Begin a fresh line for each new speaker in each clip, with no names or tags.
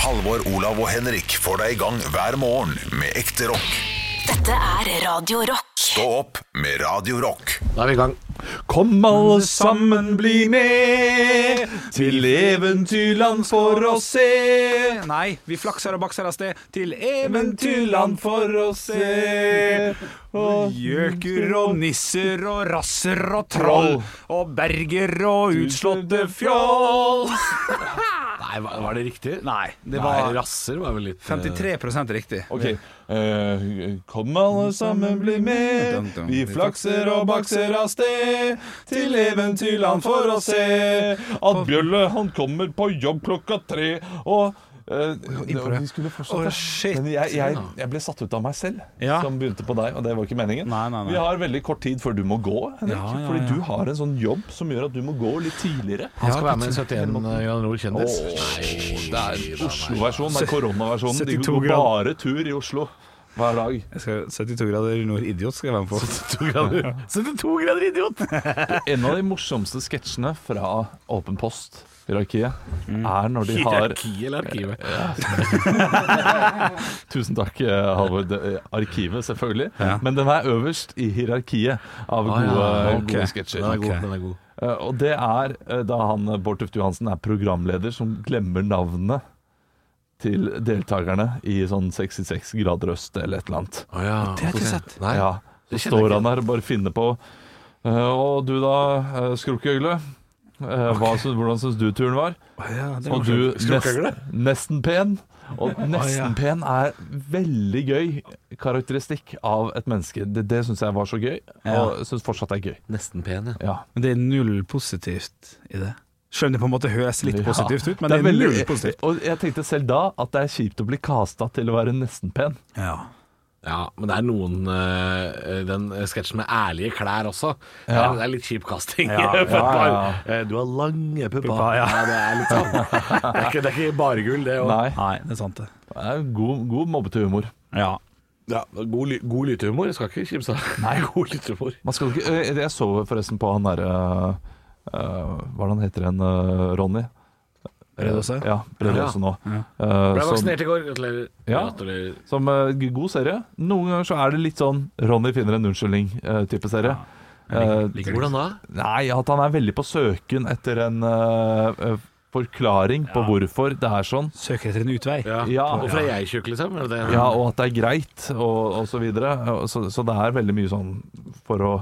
Halvor, Olav og Henrik får deg i gang hver morgen med ekte rock.
Dette er Radio Rock.
Stå opp med Radio Rock.
Da er vi i gang.
Kom alle sammen, bli med til eventyrland for å se. Nei, vi flakser og bakser av sted til eventyrland for å se. Og gjøker og nisser og rasser og troll. Og berger og utslåtte fjoll.
Nei, var, var det riktig?
Nei, det
Nei,
var
rasser var vel litt eh,
53 riktig.
Ok. Eh, kom alle sammen, bli med. Vi flakser og bakser av sted til eventyrland for å se at Bjølle han kommer på jobb klokka tre og eh,
det.
vi skulle
Å,
fortsette.
shit.
Men jeg, jeg, jeg ble satt ut av meg selv,
Ja.
som begynte på deg. Og det var ikke meningen.
Nei, nei, nei.
Vi har veldig kort tid før du må gå, Henrik.
Ja, ja,
Fordi
ja.
du har en sånn jobb som gjør at du må gå litt tidligere.
eh, Han skal være med i 71 Grand Nord kjendis.
det er Oslo-versjonen, det er koronaversjonen. De
72
går
grad.
bare tur i Oslo hver dag.
Jeg skal- 72 grader nord idiot skal jeg være med på.
72 grader, 72 grader idiot!
En av de morsomste sketsjene fra Åpen post-hierarkiet er når de har
Mm. Hierarki eller arkivet?
Tusen takk, eh, Halvor. Det- eh, Arkivet, selvfølgelig. Men den er øverst i hierarkiet av
ja,
gode,
ok.
gode sketsjer.
Den er god.
Ok.
Den er god.
Eh, Og det er eh, da han eh, Bård Tufte Johansen er programleder som glemmer navnet til deltakerne i sånn 66 grader øst eller et eller annet.
Å ja. Det
har jeg ikke sett.
Nei.
Ja, så
det kjenner jeg
står
ikke.
han der og bare finner på «Eh, Og du da, eh, skrukkeøgle eh, hva sy- Hvordan synes du turen var? og du, nesten, nesten pen Og nesten pen er veldig gøy Karakteristikk av et menneske Det, det synes jeg var så gøy Og jeg synes fortsatt det er gøy
Nesten pen, ja.
ja.
Men det er null positivt i det. Selv om det på en måte høres litt
Ja.
positivt ut, men det er,
veldig-
null positivt.
Og jeg tenkte selv da at det er kjipt å bli kastet til å være nesten pen
Ja.
Ja, men det er noen eh, Den sketsjen med ærlige klær også. Det er- Det er litt kjip casting.
Ja, ja,
ja.
Pupper. Eh, Du har lange pupper.
Pupper, ja.
det er litt sånn. Det er ikke, det er ikke bare gull, det. Og,
Nei,
Nei, det er sant det.
det er god, god mobbete humor
Ja.
ja, god, ly- god lytehumor. Jeg Skal ikke kimse av. Nei, god lytehumor.
Man skal ikke eh, Jeg så forresten på han derre uh, Hva er det han heter han? eh, Ronny?
Rødåse?
Ja, Bredåse nå. Eh,
Ble
som
vaksinert i går. Gratulerer.
Ja.
Gratulerer.
som eh, god serie. Noen ganger så er det litt sånn Ronny finner en unnskyldning-type serie. Eh,
Hvordan da?
nei, at han er veldig på søken etter en eh, eh, forklaring på hvorfor det er sånn.
Søker etter en utvei.
Ja.
Ja.
Hvorfor er jeg tjukk, liksom? Er det det?
Ja, og at det er greit, og, og så videre. Og Så, så det er veldig mye sånn for å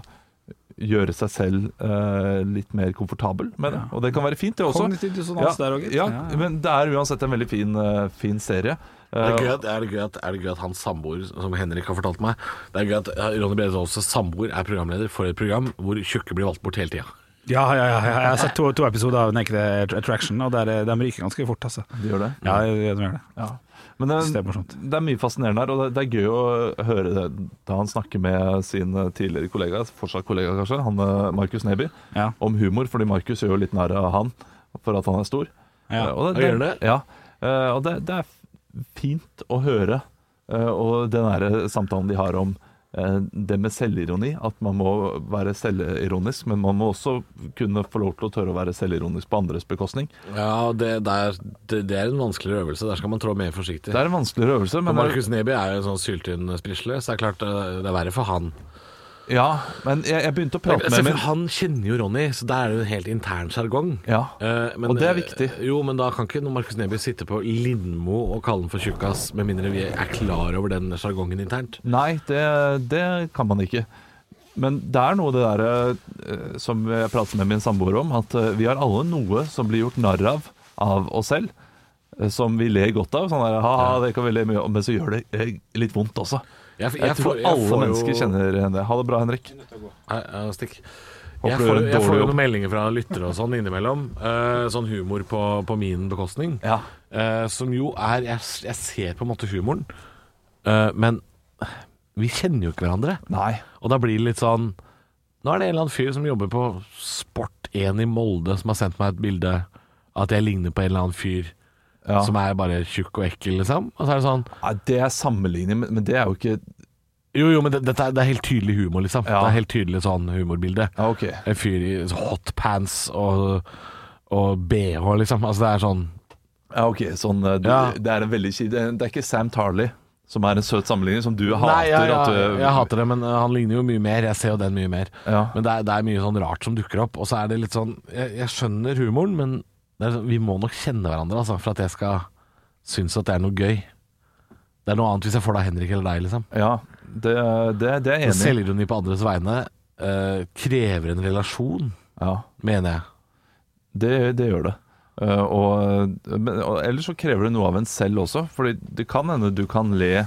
gjøre seg selv eh, litt mer komfortabel med det. Og det kan være fint, det også.
Kognitiv dissonans der også, gitt.
ja,
Ja, ja.
men det er uansett en veldig fin, eh, fin serie.
Er det, gøy
Eh,
at, er, det gøy at, er det gøy at hans samboer, som Henrik har fortalt meg Det er gøy at eh, Ronny Brede samboer er programleder for et program hvor tjukke blir valgt bort hele tida.
Ja, ja, ja, ja. Jeg har sett to, to episoder av Naked Attraction, og der, er- de ryker ganske fort, altså.
de gjør Eh, det.
Ja, de gjør det.
Ja. Men det,
Synes det
det,
er morsomt.
er mye fascinerende her, og det, det er gøy å høre det da han snakker med sin eh, tidligere kollega, fortsatt kollega kanskje, han eh, Markus Neby,
Ja.
om humor, fordi Markus gjør jo litt narr av han for at han er stor.
Ja,
Eh, og
og gjør det?
Ja, Eh, og det, det er f- fint å høre, eh, og den her eh, samtalen de har om eh, det med selvironi, at man må være selvironisk, men man må også kunne få lov til å tørre å være selvironisk på andres bekostning.
Ja, det, det, er, det, det er en vanskeligere øvelse. Der skal man trå mer forsiktig.
Det er en vanskeligere øvelse,
Og
men det er-
Markus Neby er jo en sånn syltynnspisle, så det er klart eh, det er verre for han.
ja, men altså, jeg, jeg begynte å prate med
Se,
min-
for han kjenner jo Ronny, så da er det jo en helt intern sjargong.
Ja,
Eh, men-
og det er viktig.
eh, Jo, men da kan ikke noen Markus Neby sitte på Lindmo og kalle han for tjukkas, med mindre vi er klar over den sjargongen internt.
Nei, det, det kan man ikke. Men det er noe det derre eh, som jeg pratet med min samboer om, at eh, vi har alle noe som blir gjort narr av av oss selv. eh, Som vi ler godt av. Sånn der, ha, det kan vi le mye av, men så gjør det eh, litt vondt også.
Jeg, jeg
Jeg,
får-
tror
jeg
alle
får jo-
mennesker kjenner igjen det. Ha det bra, Henrik.
Nei, ja, stikk.
Håper
Jeg
du
får,
gjør en
jeg
dårlig
får jo
jobb.
noen meldinger fra lyttere og sånn innimellom. eh, sånn humor på, på min bekostning.
Ja.
Eh, som jo er jeg, jeg ser på en måte humoren, eh, men vi kjenner jo ikke hverandre.
Nei.
Og da blir det litt sånn Nå er det en eller annen fyr som jobber på Sport1 i Molde, som har sendt meg et bilde av at jeg ligner på en eller annen fyr
Ja.
som er bare tjukk og ekkel, liksom. Og så er det sånn
Nei, det er sammenligning, men men det er jo ikke
Jo, jo, men det, dette er, det er helt tydelig humor, liksom.
Ja.
Det er helt tydelig sånn humorbilde.
Ja, OK.
En fyr i hotpants og, og bh, liksom. Altså, det er sånn
Ja, ok, sånn, eh, du,
Ja.
Det er en veldig kid- det er- Det er ikke Sam Tarley som er en søt sammenligning, som du hater.
Nei, ja, ja,
at
jeg,
du,
hater det, men eh, han ligner jo mye mer. Jeg ser jo den mye mer.
Ja.
Men det er, det er mye sånn rart som dukker opp. Og så er det litt sånn Jeg, jeg skjønner humoren, men det er, sånn- vi må nok kjenne hverandre altså, for at jeg skal synes at det er noe gøy. Det er noe annet hvis jeg får det av Henrik eller deg, liksom.
Ja, det, det, det er jeg enig i.
Selvironi på andres vegne eh, krever en relasjon,
Ja,
mener jeg.
det, det gjør det. Eh, og, men, og ellers så krever det noe av en selv også, Fordi det kan hende du kan le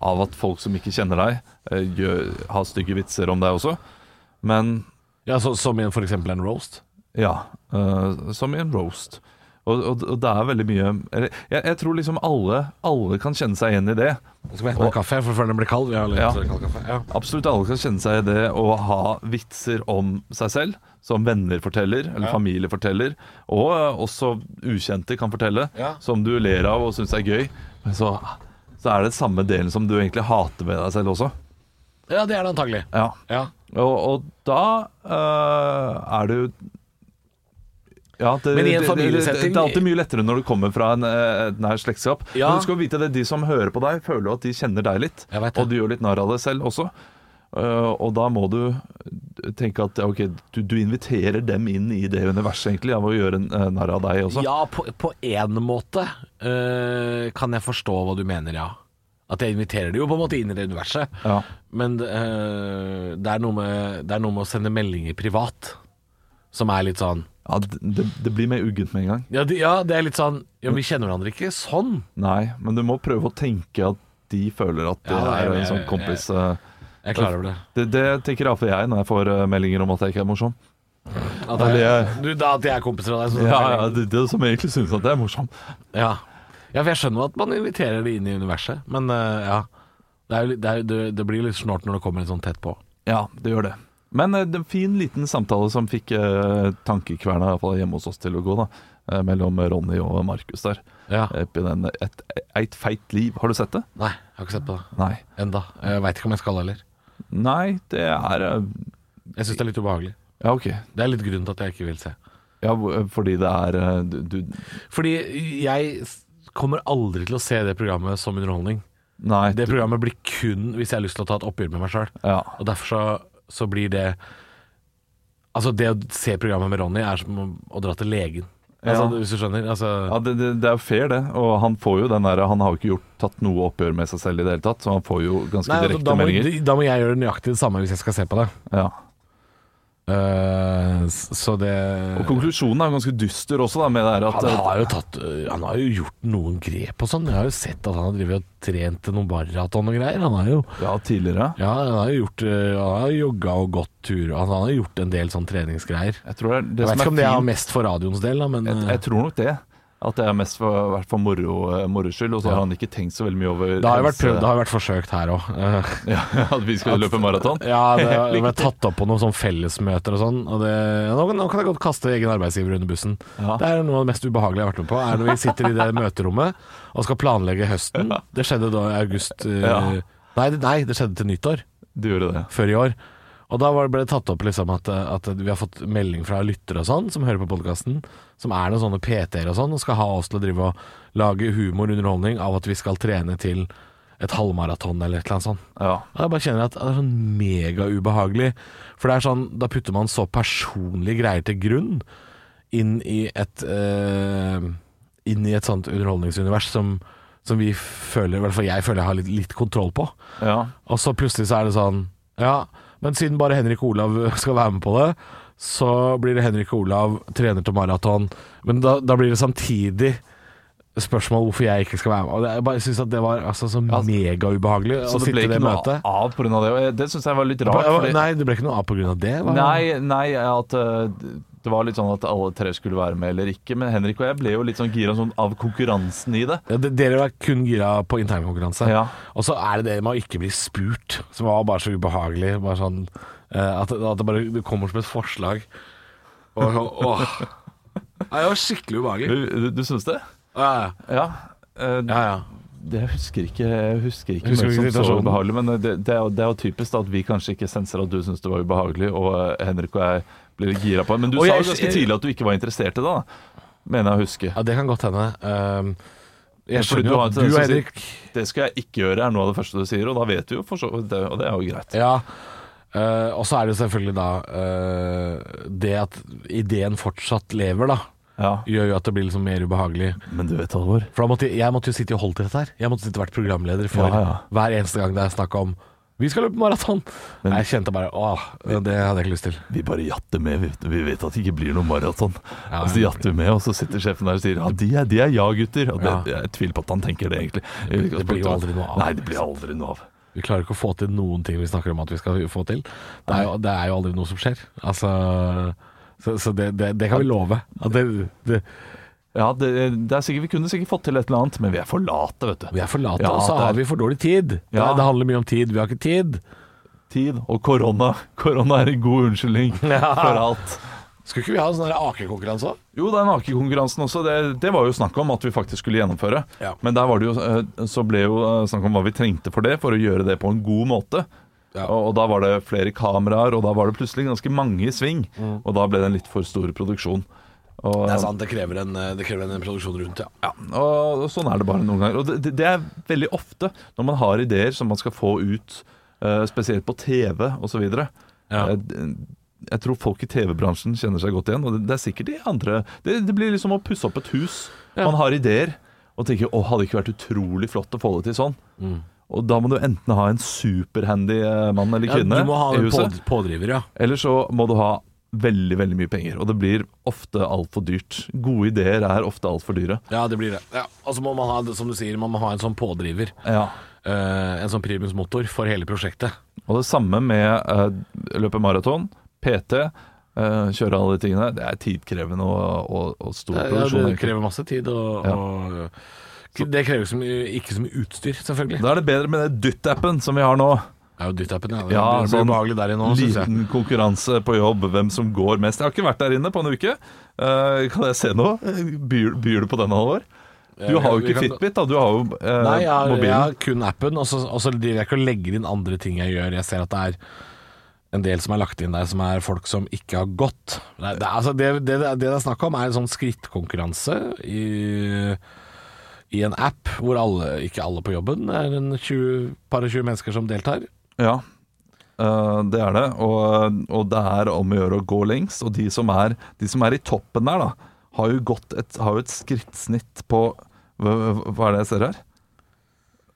av at folk som ikke kjenner deg, eh, gjør, har stygge vitser om deg også. Men
Ja, så, Som i en- for eksempel en roast.
Ja, eh, som i en roast. Og, og, og det er veldig mye eller, jeg, jeg tror liksom alle, alle kan kjenne seg igjen i det.
Jeg skal vi hente meg kaffe for før den blir kald. Vi har litt
Ja.
kald kaffe. Ja.
Absolutt alle kan kjenne seg i det å ha vitser om seg selv, som venner forteller, eller familie forteller, og eh, også ukjente kan fortelle,
Ja.
som du ler av og syns er gøy. Men så, så er det samme delen som du egentlig hater ved deg selv også.
ja, det er det antagelig.
Ja.
Ja.
Og, og da eh, er det jo ja, det,
Men i en
det- det-
familiesetting-
Det, det er alltid mye lettere når du kommer fra en, eh, et nært slektskap.
Ja.
Men du skal jo vite det, de som hører på deg, føler jo at de kjenner deg litt.
Jeg vet det.
Og du gjør litt narr av deg selv også. Eh, og da må du tenke at ja, ok, du, du inviterer dem inn i det universet egentlig av å gjøre en, eh, narr av deg også.
Ja, på, på en måte eh, kan jeg forstå hva du mener, ja. At jeg inviterer det jo på en måte inn i det universet.
Ja.
Men eh, det, er noe med, det er noe med å sende meldinger privat som er litt sånn
Ja, det, det blir mer uggent med en gang.
ja, det, ja, det er litt sånn Ja, vi kjenner hverandre ikke sånn.
Nei, men du må prøve å tenke at de føler at det
Ja,
er
jeg-
en sånn
jeg-
kompis... eh,
Jeg er klar over det.
Det, det tenker iallfall jeg når jeg får eh, meldinger om at jeg ikke er morsom.
At
Ja, det
jeg,
er-
du, da at jeg er kompiser av deg. Så
Ja, ja, det, det som egentlig synes at jeg er morsom.
Ja. ja, for jeg skjønner jo at man inviterer det inn i universet, men eh, ja. Det, er, jo litt- det, er, det, det blir litt snålt når det kommer litt sånn tett på.
Ja, det gjør det. Men eh, det er en fin liten samtale som fikk eh, tankekverna i hvert fall hjemme hos oss til å gå, da. eh, mellom Ronny og Markus der.
Ja.
Oppi den et, Eit feit liv. Har du sett det?
Nei, jeg har ikke sett på det
Nei.
enda Jeg veit ikke om jeg skal heller.
Nei, det er eh,
Jeg syns det er litt ubehagelig.
Ja, OK.
Det er litt grunnen til at jeg ikke vil se.
Ja, hvor- fordi det er eh, du, du
Fordi jeg s- kommer aldri til å se det programmet som underholdning.
Nei.
Det
du,
programmet blir kun hvis jeg har lyst til å ta et oppgjør med meg sjøl.
ja.
Og derfor så, så blir det Altså, det å se programmet med Ronny er som å- å dra til legen. Altså,
Ja.
Hvis du skjønner. Altså,
Ja, det, det, det er jo fair, det. Og han får jo den der, han har jo ikke gjort, tatt noe oppgjør med seg selv i det hele tatt, så han får jo ganske
Nei, altså,
direkte
da, må,
meldinger.
da må jeg gjøre nøyaktig det samme hvis jeg skal se på det.
Ja.
Eh, s- så det
Og konklusjonen er jo ganske dyster også, da, med det her at
han har, jo tatt, øh, han har jo gjort noen grep og sånn. Jeg har jo sett at han har drevet og trent til noen maraton og greier. Han har jo,
Ja, tidligere.
ja, han har jo gjort øh, Han har jogga og gått tur. Han har jo gjort en del sånn treningsgreier.
Jeg tror det er det
Jeg vet
som
ikke om
er
det er
fint.
mest for radioens del, da, men
Jeg,
øh,
jeg tror nok det. At det er mest for, vært for moro, eh, moro skyld, og så har han ikke tenkt så veldig mye over
det har jo vært
helse-
prøvd, det har jo vært forsøkt her òg.
Ja, at vi skal løpe maraton.
Ja, det det ble tatt opp på noen sånn fellesmøter og sånn. Og det, nå, nå kan jeg godt kaste egen arbeidsgiver under bussen.
Ja.
Det er noe av det mest ubehagelige jeg har vært med på. Er når vi sitter i det møterommet og skal planlegge høsten. Det skjedde da i august eh,
Ja.
nei, det- nei, det skjedde til nyttår.
Du gjorde det.
Før i år. Og da var det- ble det tatt opp liksom at, eh, at vi har fått melding fra lyttere og sånn, som hører på podkasten, som er noen sånne PT-er og sånn, og skal ha oss til å drive og lage humor og underholdning av at vi skal trene til et halvmaraton eller et eller annet sånt.
Ja.
Og Jeg bare kjenner at det er sånn megaubehagelig. For det er sånn, da putter man så personlige greier til grunn inn i et eh, Inn i et sånt underholdningsunivers som, som vi føler, i hvert fall jeg føler jeg har litt, litt kontroll på.
ja.
Og så plutselig så er det sånn Ja, men siden bare Henrik og Olav skal være med på det, så blir det Henrik og Olav trener til maraton. Men da, da blir det samtidig spørsmål hvorfor jeg ikke skal være med. Og det- Jeg bare syns at det var altså, så megaubehagelig å
Så det
sitte
ble
i det
ikke noe
møtet.
av pga. det. Og jeg- det syns jeg var litt rart.
På-
fordi-
Nei, det ble ikke noe av på grunn av det? hva?
Nei, nei, at eh, det var litt sånn at alle tre skulle være med eller ikke. Men Henrik og jeg ble jo litt sånn gira sånn av konkurransen i det.
Ja, det- Dere var kun gira på internkonkurranse.
Ja.
Og så er det det med å ikke bli spurt, som var bare så ubehagelig. Bare sånn, eh, at, at det bare det kommer som et forslag. Åh, åh. Nei, det var skikkelig ubehagelig.
Du, du, du syns det?
Ja, ja.
Ja. eh,
ja, ja.
Det jeg husker ikke Jeg husker ikke,
Husker
mye
ikke
som så
situasjonen.
ubehagelig, men det, det, er jo, det er jo typisk da, at vi kanskje ikke senser at du syns det var ubehagelig, og eh, Henrik og jeg blir gira på det. Men du
Og
sa
jeg-
jo ganske
jeg-
tidlig at du ikke var interessert i det. da mener jeg å huske.
Ja, det kan godt hende. Ehm, jeg
Fordi
skjønner
du
jo
har
at
sånn en tendens
du,
til å si-
Henrik
Det skal jeg ikke gjøre, er noe av det første du sier, og da vet du jo for så det, Og det er jo greit.
Ja. Eh, og så er det jo selvfølgelig da eh, det at ideen fortsatt lever, da,
Ja.
gjør jo at det blir liksom mer ubehagelig.
Men du vet alvor.
For da måtte jeg, jeg måtte jo sitte og holde til dette her. Jeg måtte sitte og vært programleder for
Ja, ja.
hver eneste gang det er snakk om vi skal løpe maraton.
Men-
Jeg kjente bare åh, det hadde jeg ikke lyst til.
Vi bare jatter med. Vi, vi vet at det ikke blir noe maraton.
Ja,
og så jatter vi med, og så sitter sjefen der og sier ja, de er, de er ja-gutter. Og det,
Ja.
Jeg tviler på at han tenker det, egentlig.
Det blir jo aldri noe av.
Nei, det blir aldri noe av.
Vi klarer ikke å få til noen ting vi snakker om at vi skal få til. Det er jo, det er jo aldri noe som skjer. Altså Så, så det, det, det kan vi love. At det, det,
Ja, det, det er sikkert, Vi kunne sikkert fått til et eller annet, men vi er for late, vet du.
vi er for late,
Ja,
og så
det er-
har vi for dårlig tid. Det,
Ja.
det handler mye om tid. Vi har ikke tid.
Tid og korona. Korona er en god unnskyldning for alt.
Skulle ikke vi ha en sånn akekonkurranse òg?
Jo, den akekonkurransen også, det, det var jo snakk om at vi faktisk skulle gjennomføre.
Ja.
Men der var det jo, eh, så ble jo eh, snakk om hva vi trengte for det, for å gjøre det på en god måte.
Ja.
Og, og da var det flere kameraer, og da var det plutselig ganske mange i sving. Og da ble det en litt for stor produksjon. Og,
Mm. Det er sant, det krever, en, eh, det krever en produksjon rundt, ja.
Ja, og sånn er det bare noen ganger. Og det- det, det er veldig ofte når man har ideer som man skal få ut, eh, spesielt på TV osv.
Ja.
Jeg, Eh, jeg tror folk i TV-bransjen kjenner seg godt igjen. Og det, det er sikkert de andre det, det blir liksom å pusse opp et hus. Man har ideer og tenker å, hadde det ikke vært utrolig flott å få det til sånn?
Mm.
Og da må du enten ha en superhandy eh, mann eller
ja du
kvinne
må ha
i
en
huset.
pod pådriver, ja.
Eller så må du ha veldig, veldig mye penger. Og det blir ofte altfor dyrt. Gode ideer er ofte altfor dyre.
Ja, det blir det. Ja. Og så må man ha, som du sier, man må ha en sånn pådriver.
Ja.
Eh, en sånn primusmotor for hele prosjektet.
Og det samme med eh, løpe maraton, PT, eh, kjøre alle de tingene. Det er tidkrevende og, og, og stor
Ja,
produksjon.
det
egentlig.
krever masse tid, og,
Ja.
og det krever ikke så mye, ikke så mye utstyr, selvfølgelig.
Da er det bedre med den dytt-appen som vi har nå.
Det er jo dyttappen, ja. Det
Ja,
blir- det blir
sånn
ubehagelig der inne nå, syns jeg.
Liten konkurranse på jobb, hvem som går mest. Jeg har ikke vært der inne på en uke. Eh, kan jeg se noe? Byr, byr du på denne, Halvor? Du har jo
vi
ikke
kan-
Fitbit, da. Du har jo eh,
Nei, jeg har, jeg
mobilen.
har kun appen, og så, og så driver jeg ikke og legger inn andre ting jeg gjør. Jeg ser at det er en del som er lagt inn der, som er folk som ikke har gått. Det, det, er- altså, det, det, det det er snakk om, er en sånn skrittkonkurranse i, i en app hvor alle, ikke alle på jobben, det er en 20, par og 20 mennesker som deltar.
Ja, eh, det er det. Og, og det er om å gjøre å gå lengst. Og de som er, de som er i toppen der, da, har jo, gått et, har jo et skrittsnitt på hva, hva er det jeg ser her?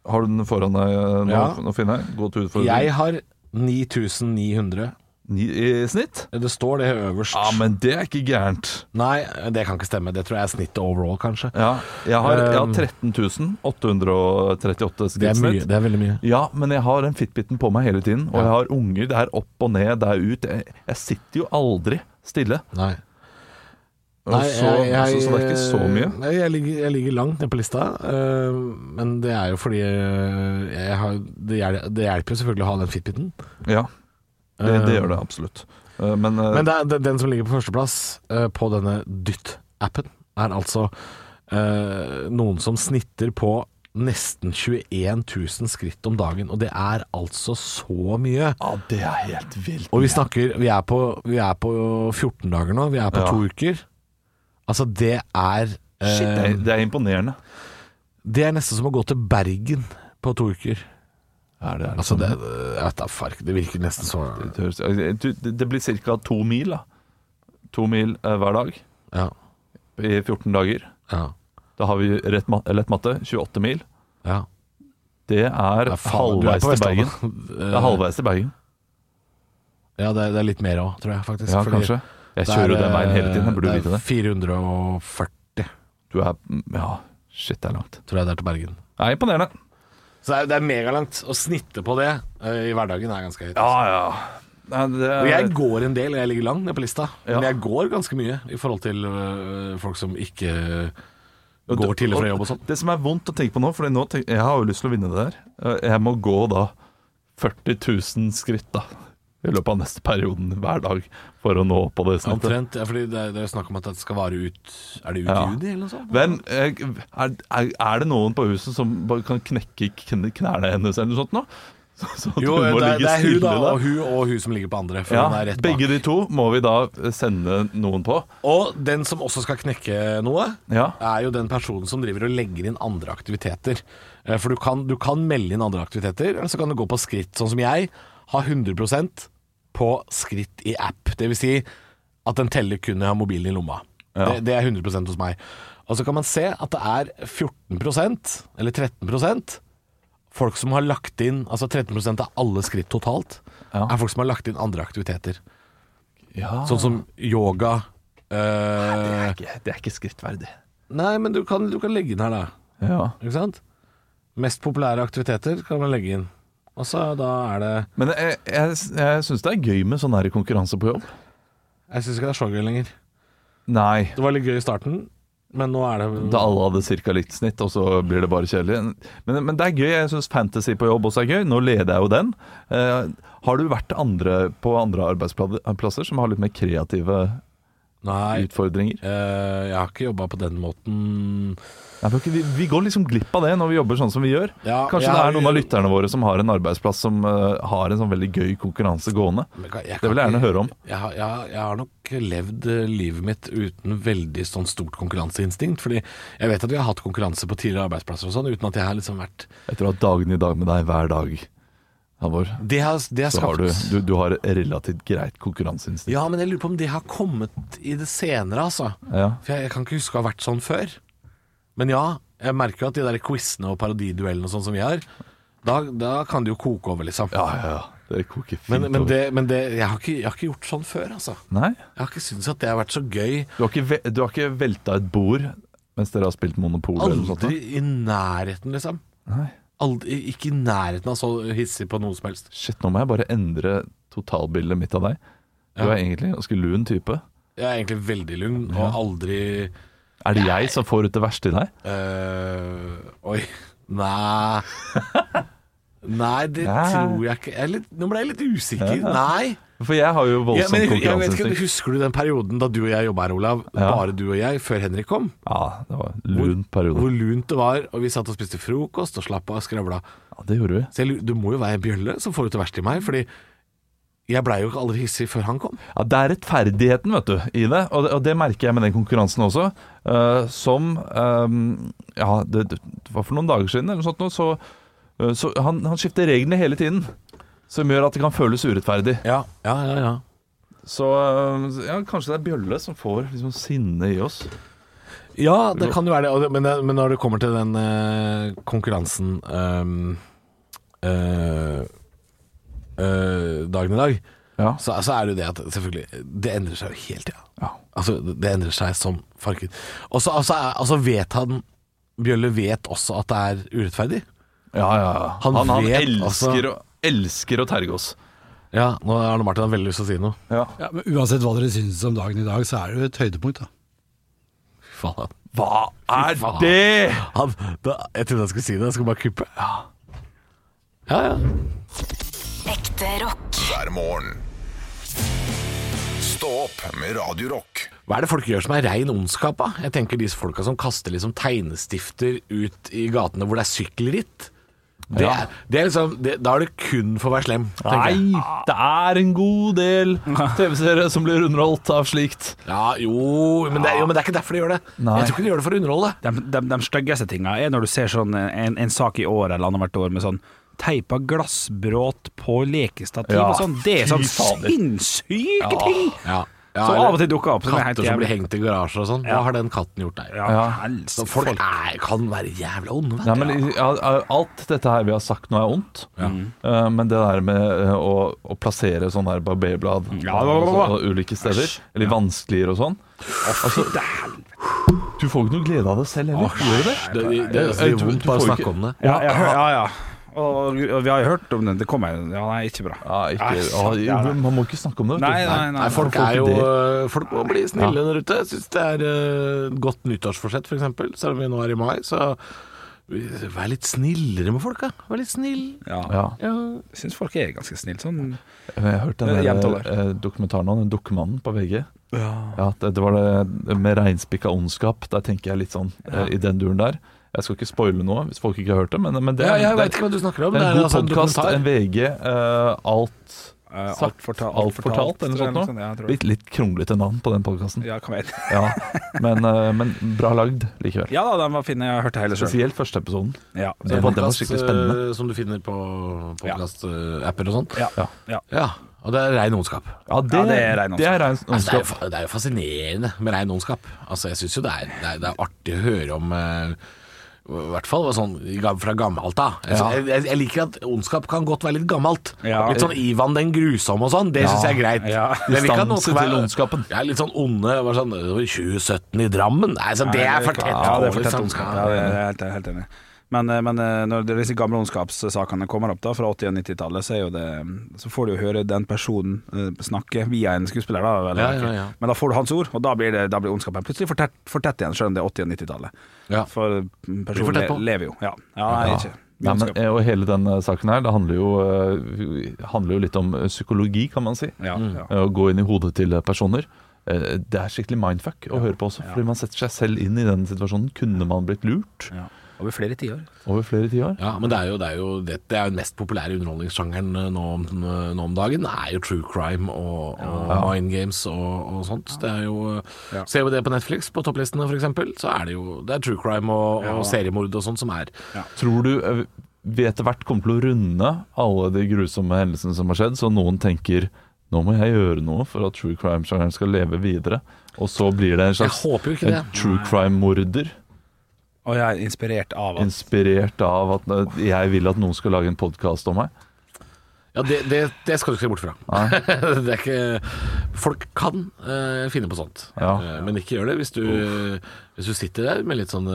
Har du den foran deg eh, nå,
Ja.
nå finner jeg? Gå til utfordring.
Jeg har 9900.
Ni I snitt?
Det står det øverst.
Ja, men det er ikke gærent.
Nei, det kan ikke stemme. Det tror jeg er snittet overall, kanskje.
Ja, jeg har, jeg har
Um,
13 838
Det er mye.
skrittsnitt.
Det er veldig mye.
Ja, men jeg har den fitbiten på meg hele tiden. Og jeg har unger. Det er opp og ned, det er ut. Jeg, jeg sitter jo aldri stille.
Nei.
Og så, altså, så, så det er ikke så mye.
Nei, jeg ligger, jeg ligger langt nede på lista, eh, men det er jo fordi eh, jeg har, det, hjelper, det hjelper jo selvfølgelig å ha den fitbiten.
Ja, det, det gjør det absolutt. Eh, Men, eh,
Men det er, den- den som ligger på førsteplass eh, på denne Dytt-appen, er altså eh, noen som snitter på nesten 21 000 skritt om dagen, og det er altså så mye.
ja, det er helt vilt.
Og vi snakker Vi er på, vi er på 14 dager nå. Vi er på
Ja.
to uker. Altså, det er eh,
Shit, det er, det er imponerende.
Det er nesten som å gå til Bergen på to uker.
Er det, er
Altså, det, jeg vet da fark, det virker nesten så
det, høres- altså, du, det- det blir ca. to mil. da To mil eh, hver dag
Ja.
i 14 dager.
Ja.
Da har vi rett ma lett matte 28 mil.
ja.
Det er
Ja, faen, du er
halvveis
på
til Bergen.
Vestlandet.
Det er halvveis til Bergen,
Ja, det, er- det er litt mer òg, tror jeg faktisk.
ja,
fordi
kanskje. Jeg
det er,
kjører jo den veien hele tiden, jeg burde
det er
vite det.
440,
Du eh, er Ja, shit, det er langt.
tror jeg det er til Bergen.
Det er imponerende.
Så det er, det er megalangt. Å snitte på det eh, i hverdagen er ganske høyt.
Ja, ja. Nei, det
Og
er,
jeg går en del, jeg ligger langt ned på lista.
Ja.
Men jeg går ganske mye i forhold til øh, folk som ikke går til og fra jobb og sånn.
Det som er vondt å tenke på nå, for nå tenk, jeg har jo lyst til å vinne det der. Eh, Jeg må gå da 40 000 skritt da, i løpet av neste perioden hver dag for å nå på det snittet.
Omtrent. Ja, fordi det, er- det er jo snakk om at det skal vare ut Er det ut
Ja.
i juni, eller noe sånt?
Hvem, eh, er, er, er det noen på huset som bare kan knekke kn- knærne hennes eller noe sånt nå? Så at
Jo,
hun må
det, er-
ligge
det er hun,
stille
da,
der.
og hun og hun som ligger på andre. For
Ja,
hun er rett bak.
begge de to må vi da sende noen på.
Og den som også skal knekke noe,
Ja.
er jo den personen som driver og legger inn andre aktiviteter. Eh, For du kan, du kan melde inn andre aktiviteter, eller så kan du gå på skritt. Sånn som jeg har 100 på skritt i app. Det vil si at den teller kun når jeg har mobilen i lomma.
Ja.
Det, det er 100 hos meg. Og så kan man se at det er 14 eller 13 folk som har lagt inn Altså 13 av alle skritt totalt
Ja. Ah.
er folk som har lagt inn andre aktiviteter.
Ja.
Sånn som yoga.
det,
eh,
er ikke, det er ikke skrittverdig.
Nei, men du kan, du kan legge inn her, da.
Ja.
Ikke sant? Mest populære aktiviteter kan man legge inn. Og så da er det
Men jeg, jeg, jeg syns det er gøy med sånn her konkurranse på jobb.
Jeg syns ikke det er så gøy lenger.
Nei.
Det var litt gøy i starten, men nå er det
Da alle hadde ca. likt snitt, og så blir det bare kjedelig. Men, men det er gøy. Jeg syns fantasy på jobb også er gøy. Nå leder jeg jo den. Eh, har du vært andre, på andre arbeidsplasser som har litt mer kreative
Nei.
utfordringer?
eh, jeg har ikke jobba på den måten.
Nei, men ok, vi, vi går liksom glipp av det når vi jobber sånn som vi gjør.
Ja,
Kanskje
jeg
det
har-
er noen av lytterne våre som har en arbeidsplass som eh, har en sånn veldig gøy konkurranse gående.
Men kan-
Det vil jeg
kan
gjerne
ikke-
høre om.
Jeg, har- jeg, har- jeg har nok levd eh, livet mitt uten veldig sånn stort konkurranseinstinkt. Fordi jeg vet at vi har hatt konkurranse på tidligere arbeidsplasser og sånn, uten at jeg har liksom vært
Etter å ha dagen i dag med deg hver dag, Halvor,
Det har, det har
så har
skapt
du, du, du har et relativt greit konkurranseinstinkt.
Ja, men jeg lurer på om det har kommet i det senere, altså.
Ja.
For jeg, jeg kan ikke huske å ha vært sånn før. Men ja, jeg merker jo at de der quizene og parodiduellene og sånn som vi har, da, da kan det jo koke over, liksom.
ja, ja, ja. Det koker fint
men, men,
over.
det, men det jeg, har ikke, jeg har ikke gjort sånn før, altså.
Nei?
Jeg har ikke syntes at det har vært så gøy.
Du har ikke, ve- du har ikke velta et bord mens dere har spilt Monopol? eller noe sånt sånn, da?
Aldri i nærheten, liksom.
Nei.
Aldri, ikke i nærheten av så hissig på noe som helst.
Shit, nå må jeg bare endre totalbildet mitt av deg. Du
Ja.
er egentlig en ganske lun type.
Jeg er egentlig veldig lugn, og aldri
Er det jeg som får ut det verste i deg?
øh, Oi. Nei. Nei, det
Nei.
tror jeg ikke. Jeg er litt, nå ble jeg litt usikker. Nei.
For jeg har jo
Ja, men
voldsomt
jeg, jeg vet ikke,
konkurranseinstinkt.
Husker du den perioden da du og jeg jobba her, Olav?
Ja.
Bare du og jeg, før Henrik kom.
Ja, det var en lun periode.
Hvor lunt det var, og vi satt og spiste frokost og slapp av og skravla.
Ja, det gjorde vi.
Så jeg, lurer- du må jo være en bjølle som får ut det verste i meg, fordi jeg blei jo ikke aldri hissig før han kom.
Ja, Det er rettferdigheten vet du, i det, og det, og det merker jeg med den konkurransen også. Eh, som eh, Ja, det, det var for noen dager siden eller noe sånt, nå, så, eh, så han, han skifter reglene hele tiden. Som gjør at det kan føles urettferdig.
Ja, ja, ja, ja.
Så eh, ja, kanskje det er Bjølle som får liksom sinne i oss.
det kan jo være det, og det- men, det- men når det kommer til den eh, konkurransen ehm, eh, eh, dagen i dag,
Ja.
så, så er det jo det at selvfølgelig Det endrer seg jo hele tida.
Ja.
Altså, det endrer seg som farken. Og så altså, er- altså vet han Bjølle vet også at det er urettferdig.
Ja, ja, ja.
Han
Han, han,
vet,
elsker,
altså.
å, elsker å terge oss.
Ja, nå har Arne Martin veldig lyst til å si noe.
Ja.
Ja, men uansett hva dere syns om dagen i dag, så er det jo et høydepunkt, da.
Faen.
Hva er
faen.
det?!
Han, da, jeg trodde jeg skulle si det, jeg skulle bare kuppe. Ja, ja. ja.
Ekte rock.
hver morgen. Stå opp med Radio Rock.
Hva er det folk gjør som er rein ondskap, da? Jeg tenker de folka som kaster liksom tegnestifter ut i gatene hvor det er sykkelritt. Det
Ja.
er, det er liksom, det, da er det kun for å være slem. tenker jeg.
Nei, det er en god del TV-seere som blir underholdt av slikt.
Ja, jo men, det, jo, men det er ikke derfor de gjør det.
Nei.
Jeg tror ikke de gjør det for å underholde.
De, de, de styggeste tinga er når du ser sånn en, en sak i år eller annethvert år med sånn teipa glassbråt på lekestativ
Ja,
og sånn. Det er
fy
sånn
fader.
sinnssyke ting!
Ja. Ja,
Som
eller-
av og til dukker opp. Som er helt
Katter som blir
jævlig.
hengt i garasjer og sånn. Hva har den katten gjort der?
Ja, helst.
Så folk er, kan være jævlig onde, vet
Nei,
du.
men ja, Alt dette her vi har sagt nå er ondt, Eh, men det der med eh, å, å plassere sånn der barberblad
Ja, bla, bla, bla.
på ulike steder, eller vanskeligere og sånn altså, Du får ikke noe glede av det selv heller. Gjør du det?
Det, det, det, det,
Jeg
gjør
tror-
vondt
du
bare å
får
snakke
ikke-
om det.
Ja, ja, hø- ja, ja. Og, og vi har jo hørt om den. Det kommer jo Ja, nei, ikke bra.
Ja, ikke,
Nei,
ja,
sant, ja,
jo, man må ikke snakke om det. vet du.
Nei, nei, nei.
Nei, folk
folk
er jo
ikke
øh, Folk må bli snille der ute. Jeg syns det er øh, godt nyttårsforsett, for eksempel Selv om vi nå er i mai, så vær litt snillere med folk, da. Vær litt snill.
Ja.
Ja.
Ja.
Jeg syns folk er ganske snille sånn.
Eh, Jeg har hørt den
Det er jevnt
der,
over.
eh, dokumentaren om den dukkemannen på VG. Ja, det, det var det med reinspikka ondskap. Der tenker jeg litt sånn eh, i den duren der. Jeg skal ikke spoile noe hvis folk ikke har hørt det, men, men det,
Ja,
er-
jeg
det,
veit ikke hva du snakker om.
det
Det
er
er
en god
altså en
podkast,
dokumentar.
en VG, eh, alt
Eh,
Sagt.
forta-
Alt fortalt, eller
tror jeg,
noe sånt
sånt, ja, jeg tror det.
Litt, litt kronglete navn på den podkasten. Ja.
Ja, kan være.
Men, eh, men bra lagd likevel.
ja da, den var fin. Jeg har hørt det hele sjøl.
Spesielt første episoden.
Ja.
Den var, den var skikkelig spennende.
eh, Som du finner på podkast-apper og sånt.
Ja.
Ja.
Ja.
Ja, og det er rein ondskap.
Ja, det,
Ja, det er rein
det er rein
Altså, det, er jo,
ondskap.
fa- det er jo fascinerende med rein ondskap. Altså, jeg syns jo det er, det, er, det er artig å høre om eh, I hvert fall sånn i ga- fra gammelt av. Altså, jeg, jeg, jeg liker at ondskap kan godt være litt gammelt.
Ja.
Litt sånn Ivan den grusomme og sånn, det syns jeg er greit.
Ja.
Men jeg vil ikke at noen skal
Distanse til
være-
ondskapen.
Ja, litt sånn onde bare sånn, «Å, 2017 i Drammen. Nei, altså, det er for tett.
Ja, det
på,
er for tett.
liksom.
Ja, det er jeg helt, helt enig. Men, eh, men eh, når det- disse gamle ondskapssakene kommer opp da fra 80- og 90-tallet, så, er jo det- så får du jo høre den personen eh, snakke via en skuespiller. Da, vel,
Ja,
ikke?
ja, ja.
Men da får du hans ord, og da blir, det, da blir ondskapen plutselig for tett, for tett igjen, selv om det er 80- og 90-tallet.
Ja.
For eh,
for
personen
tett
le,
på.
lever jo. Ja, ja nei,
Ja.
ikke.
Nei, men,
Ondskap.
eh, og hele den eh, saken her, det handler jo, eh, handler jo litt om eh, psykologi, kan man si.
ja, ja.
Eh, Å gå inn i hodet til eh, personer. Eh, Det er skikkelig mindfuck å høre på også, fordi man setter seg selv inn i den situasjonen. Kunne man blitt lurt
ja. Over flere tiår.
over flere tiår?
Ja, men det er jo, det er jo, det, det er jo den mest populære underholdningssjangeren eh, nå, om- nå om dagen. Det er jo true crime og, og mind games og, og sånt. Det er jo, eh,
Ja.
Ser vi det på Netflix, på topplistene f.eks., så er det jo det er true crime og, og seriemord og sånt som er
Tror du eh, vi etter hvert kommer til å runde alle de grusomme hendelsene som har skjedd, så noen tenker nå må jeg gjøre noe for at true crime-sjangeren skal leve videre. Og så blir det en
Jeg
slags
håper jo ikke det.
en true crime-morder,
Og jeg er inspirert av at
inspirert av at eh, jeg vil at noen skal lage en podkast om meg.
Ja, det, det, det skal du ikke se bort fra. det er ikke, folk kan eh, finne på sånt,
Ja.
Eh, men ikke gjør det hvis du, hvis du sitter der med litt sånne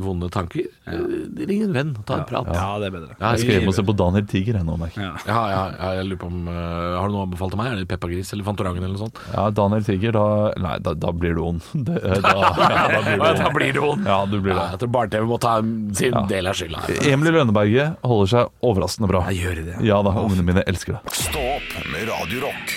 vonde tanker. eh, Ring en venn, ta en prat.
Ja, det er bedre.
Ja,
Jeg skal hjem
i-
og se på Daniel Tiger ennå, merker jeg.
Ja, ja, ja, jeg lurer på om eh, Har du noe anbefalt til meg? Er det peppergris eller Fantorangen eller noe sånt?
Ja, Daniel Tiger, da Nei, da, da blir du ond. Det, da, ja, da blir du ond.
blir det vondt!
Ja, du blir
Ja,
det.
jeg tror Barne-TV må ta sin del av skylda.
Emil i Lønneberget holder seg overraskende bra.
Jeg gjør det.
Ja da, ungene mine elsker det.
Stå opp med Radio Rock.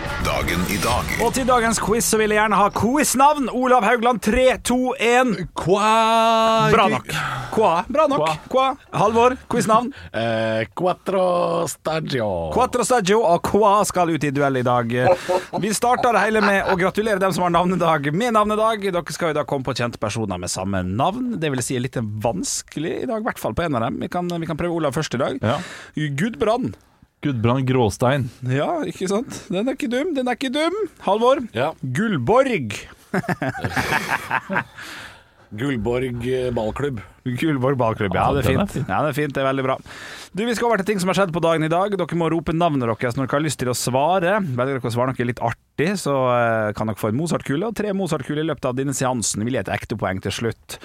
Dagen i dag.
Og til dagens quiz så vil jeg gjerne ha quiznavn. Olav Haugland 3, 2, 1. Bra nok. Qua. Bra nok. Qua. Halvor, quiznavn.
Eh, Quattro Stagio.
Quattro Staggio og Qua skal ut i duell i dag. Vi starter det hele med å gratulere dem som har navnedag med navnedag. Dere skal jo da komme på kjente personer med samme navn. Det vil si litt vanskelig i dag, i hvert fall på en av dem. Vi kan, vi kan prøve Olav først i dag.
Ja.
Gudbrand.
Gudbrand Gråstein.
Ja, ikke sant? Den er ikke dum, den er ikke dum. Halvor.
Ja.
Gullborg.
Gullborg eh, ballklubb.
Gullborg ballklubb. Ja, det er
den er
fint. Ja, det er fint, det er veldig bra. Du, Vi skal over til ting som har skjedd på dagen i dag. Dere må rope navnet deres når dere har lyst til å svare. Velger dere å svare noe litt artig, så eh, kan dere få en Mozart-kule. Og tre Mozart-kuler i løpet av denne seansen vil gi et ekte poeng til slutt.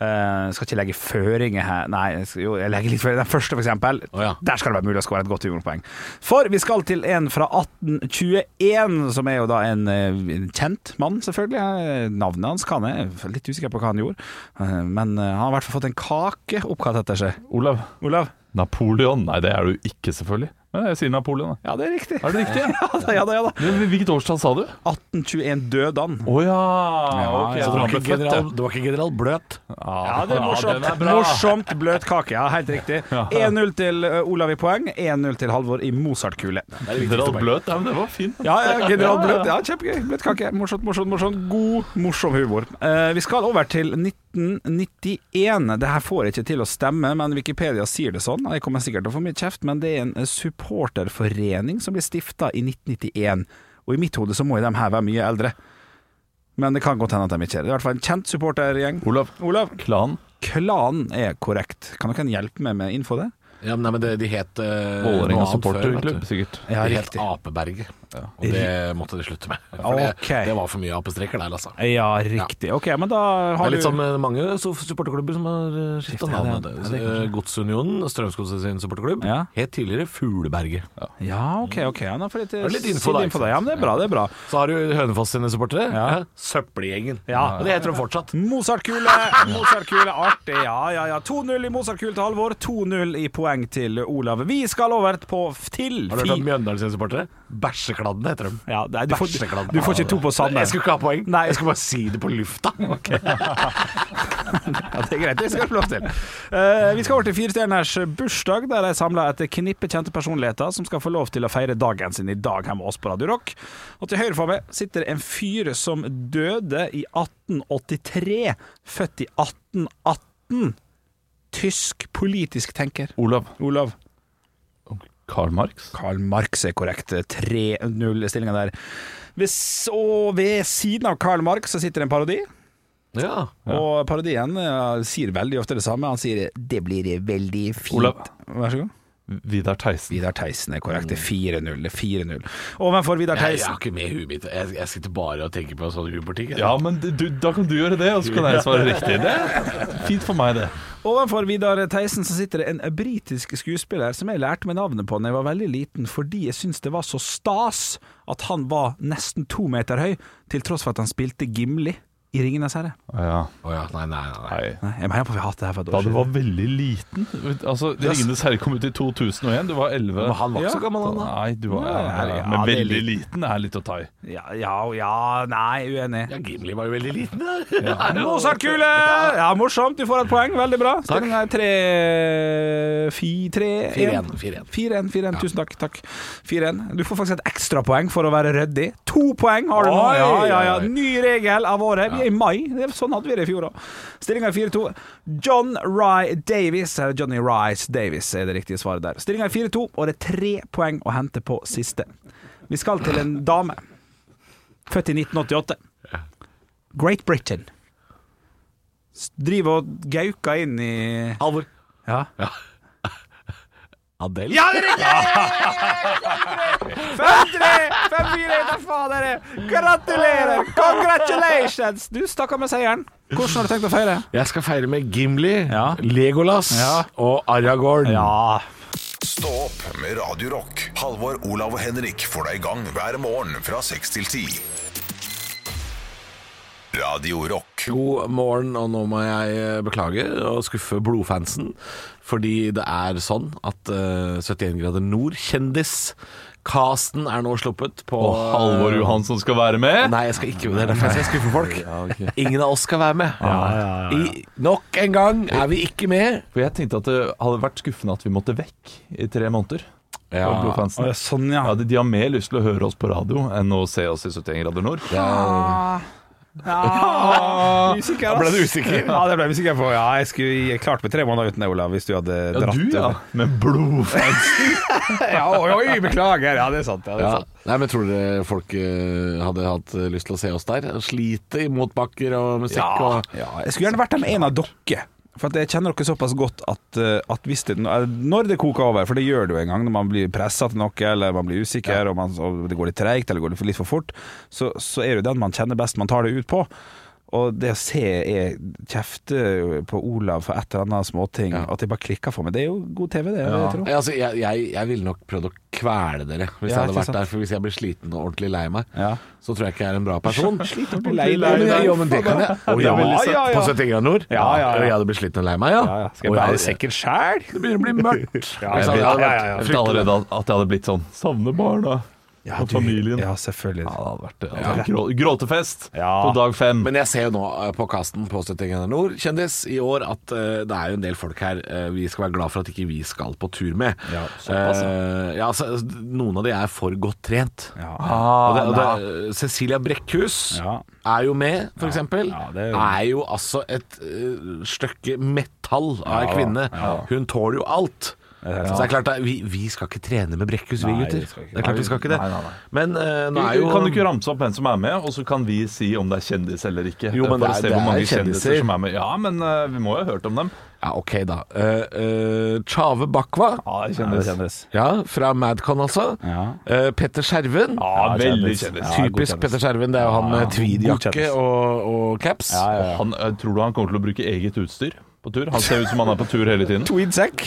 Eh, skal ikke legge føringer her Nei, jeg skal- jo, jeg legger litt føringer. Den første, for eksempel.
Å, ja.
Der skal det være mulig å skåre et godt humorpoeng. For vi skal til en fra 1821, som er jo da en, eh, en kjent mann, selvfølgelig. Eh, Navnet hans kan jeg, jeg er litt usikker på hva han gjorde. Eh, Men eh, han har i hvert fall fått en kake oppkalt etter seg.
Olav.
Olav?
Napoleon. Nei, det er du ikke, selvfølgelig. Men jeg sier Napoleon, da.
Ja, det er riktig.
Er det riktig?
Ja da, ja da. ja da
Du, Hvilket årstall sa du?
1821 døde han.
Å ja.
Ja,
ok,
ja.
så
Det
han
var
ble
ikke
født,
general, det var ikke general Bløt.
Ja, det er morsomt.
den er bra.
morsomt bløt kake. Ja, helt riktig. 1-0 til eh, Olav i poeng, 1-0 til Halvor i Mozart-kule.
General Bløt. Ja, men det var fint.
Ja, ja, general bløt. Ja, kjempegøy. Bløt kake. Morsomt, morsomt, morsomt. God, morsom humor. Eh, vi skal over til 1991. Det her får jeg ikke til å stemme, men Wikipedia sier det sånn. Jeg kommer sikkert til å få mye kjeft, men det er en eh, supporterforening som ble stifta i 1991. Og i mitt hode så må jo de her være mye eldre. Men det kan godt hende at de ikke er det. Det er i hvert fall en kjent supportergjeng.
Olav.
Olav,
Klan.
klanen er korrekt. Kan dere hjelpe meg med info der?
Ja, men nei, men det, de het eh, noe
Vålerenga
annet før,
supporterklubb,
vet du.
sikkert.
Ja,
de het
riktig.
Apeberget, og det måtte de slutte med. For
Ok.
det, det var for mye apestreker der, altså.
Ja, riktig. Ok, men da
Det
har
er litt
du
som eh, mange so- supporterklubber som har skifta
Skiftet,
navn.
ja.
vet
Ja,
du.
det kan
Eh, Godsunionen, Strømsgodset sin supporterklubb,
Ja.
het tidligere Fugleberget.
Ja, ok, ok. Ja, da får jeg
Er det litt info
litt
der,
info
ikke
der. Ja, men det er bra, det er bra.
Så har du Hønefoss sine supportere.
Ja.
Ja. Søppelgjengen.
Ja.
Og det heter de fortsatt.
Mozartkule, Mozartkule, artig. Ja, ja, ja. 2-0 i Mozartkule til Halvor, 2-0 i poeng poeng til Olav. Vi skal over på f- til
Har du hørt
fi-
om Mjøndalen-supportere? Bæsjekladdene heter de.
Ja, nei, du, får,
Bæsjekladdene.
du får ikke to på samme.
Jeg skulle ikke ha poeng.
Nei.
Jeg skulle bare si det på lufta.
Ja, det er greit, det skal du få lov til. Eh, vi skal over til firestjerners bursdag, der de samler et knippe kjente personligheter som skal få lov til å feire dagen sin i dag her med oss på Radio Rock. Og til høyre for meg sitter en fyr som døde i 1883, født i 1818. Tysk politisk tenker.
Olav.
Olav.
Karl Marx.
Karl Marx er korrekt. 3-0-stillinga der. Ved, s- og ved siden av Karl Marx så sitter en parodi.
Ja.
Og parodien eh, sier veldig ofte det samme. Han sier 'det blir veldig fint'.
Olav.
Vær så god.
Vidar Theisen.
Vidar Theisen er korrekt. Det er 4-0. Det er 4-0. Ovenfor Vidar Theisen
ikke med huet mitt. Jeg, jeg sitter bare og tenker på sånn humorting.
Ja, men du, da kan du gjøre det, og så kan jeg svare riktig. Det er fint for meg, det.
Ovenfor Vidar Theisen så sitter det en britisk skuespiller som jeg lærte meg navnet på da jeg var veldig liten, fordi jeg syntes det var så stas at han var nesten to meter høy, til tross for at han spilte Gimli i 'Ringenes herre'.
Ja,
ja. Nei, nei, nei.
nei.
Nei, jeg mener på at vi har hatt det her for et
Da
år
du
siden.
var veldig liten Altså, 'Ringenes herre' kom ut i 2001, du var 11.
Men han var ikke
Ja.
så gammel, han da.
Nei, du var ja,
ja,
Men
det er
veldig liten er litt å ta i.
Ja, ja, ja, nei, uenig.
Ja, Gimli var jo veldig liten. da.
Mozartkule! Ja, morsomt. Du får et poeng. Veldig bra. Stillinga er 3
4-1, 4-1.
4-1. 4-1. 4-1. Tusen takk. takk. 4-1. Du får faktisk et ekstrapoeng for å være ryddig. To poeng har du nå.
Oi,
Ja, ja, ja.
oi.
Ny regel av året. Vi er i mai. Det er- Sånn hadde vi det i fjor òg. Stillinga er 4-2. John Rye Davies, eller Johnny Rice Davies, er det riktige svaret der. Stillinga er 4-2, og det er tre poeng å hente på siste. Vi skal til en dame. Født i 1988. Great Britain. S- Driver og gauker inn i
Halvor.
Ja.
Adele?
Ja, det er riktig! 5-3! 5-4, da faen er det! Gratulerer! Congratulations! Du stakk av med seieren. Hvordan har du tenkt å feire?
Jeg skal feire med Gimli,
Ja.
Legolas
Ja.
og Aragorn.
Ja.
Stå opp med Radio Rock. Halvor, Olav og Henrik får deg i gang hver morgen fra 6 til 10. Radio Rock.
God morgen, og nå må jeg eh, beklage og skuffe blodfansen. Fordi det er sånn at eh, 71 grader nord-kjendis Casten er nå sluppet på eh,
Og Halvor Johansson skal være med.
Nei, jeg skal ikke Det er derfor jeg skal skuffe folk. Ingen av oss skal være med. I, nok en gang er vi ikke med.
For jeg tenkte at det hadde vært skuffende at vi måtte vekk i tre måneder. Ja.
Å, ja, sånn, ja.
Ja, de, de har mer lyst til å høre oss på radio enn å se oss i 71 grader nord.
Ja, Ah, usikker, ass.
ble du usikker?
Ja, det ble jeg usikker på. Ja, jeg skulle klart med tre måneder uten deg, Olav, hvis du hadde
Ja,
dratt.
du, ja. Med blodfans.
ja oi, oi, beklager. Ja, det er sant. Ja, det er
Ja.
sant.
Nei, men Tror dere folk eh, hadde hatt eh, lyst til å se oss der? Slite i motbakker og musikk og
Ja, jeg skulle gjerne vært der med en av dere. For at jeg kjenner dere såpass godt at, eh, at hvis det, når det koker over, for det gjør det jo en gang når man blir pressa til noe, eller man blir usikker, og, man, og det går litt treigt eller går det litt for fort, så, så er det jo den man kjenner best man tar det ut på. Og det å se jeg kjefte på Olav for et eller annet småting,
Ja.
at jeg bare klikker for meg, det er jo god TV, det. Jeg tror.
Nei, altså, jeg, jeg, jeg ville nok prøvd å kvele dere hvis jeg
Ja,
hadde
ikke
vært
sant.
der. For hvis jeg blir sliten og ordentlig lei meg,
Ja.
så tror jeg ikke jeg er en bra person.
Sliten og blir
Jo, men, jeg- jo, men det kan jeg. Å, ja,
Ja, ja, ja.
På 70 grader nord?
Ja, ja, ja.
Jeg hadde blitt sliten og lei meg, ja.
Ja, ja. Skal jeg
Å,
bære
hadde-
sekken sjæl?
Det begynner å bli mørkt.
Ja, jeg
Hvis jeg hadde
vet.
vært-
Ja, ja, ja.
Jeg følte allerede at jeg hadde blitt sånn Savner barna og familien.
Ja, selvfølgelig.
Ja, det hadde vært, det hadde vært grå, gråtefest
Ja.
på dag fem.
Men jeg ser jo nå eh, på casten på 70 grader nord, kjendis, i år at eh, det er jo en del folk her eh, vi skal være glad for at ikke vi skal på tur med.
Ja,
Eh, ja, altså, noen av de er for godt trent.
Ja.
Og det,
Ah,
og det, Cecilia Brekkhus
Ja.
er jo med, for eksempel.
ja, det er
er,
jo-
jo altså et eh, stykke metall av ei
Ja,
kvinne.
ja.
Hun tåler jo alt. Så det er klart at vi, vi skal ikke trene med Brekkhus, vi
Nei, vi
gutter.
skal ikke.
Det er klart vi skal ikke det.
Nei, nei, nei.
Men eh, nå er
Du-
jo
Kan du ikke ramse opp hvem som er med, og så kan vi si om det er kjendis eller ikke?
Jo, men
For
det
å
er-
se
det
hvor
er
mange
kjendiser.
kjendiser som er med. Ja, men eh, vi må jo ha hørt om dem.
Ja, ok, da. Eh, eh, Tjave Bakwa.
Ja, det er
Ja, det
kjendis.
kjennes.
Ja, fra Madcon, altså.
Ja.
Eh, Petter Skjerven.
Ja, veldig
kjendis.
kjendis.
Ja, god
Typisk
kjendis.
Petter Skjerven. Det er jo han med
god
tweedjakke
kjendis.
og, og caps.
Ja, ja, ja.
Han, eh, tror du han kommer til å bruke eget utstyr på tur? Han ser ut som han er på tur hele tiden.
Tweedsekk.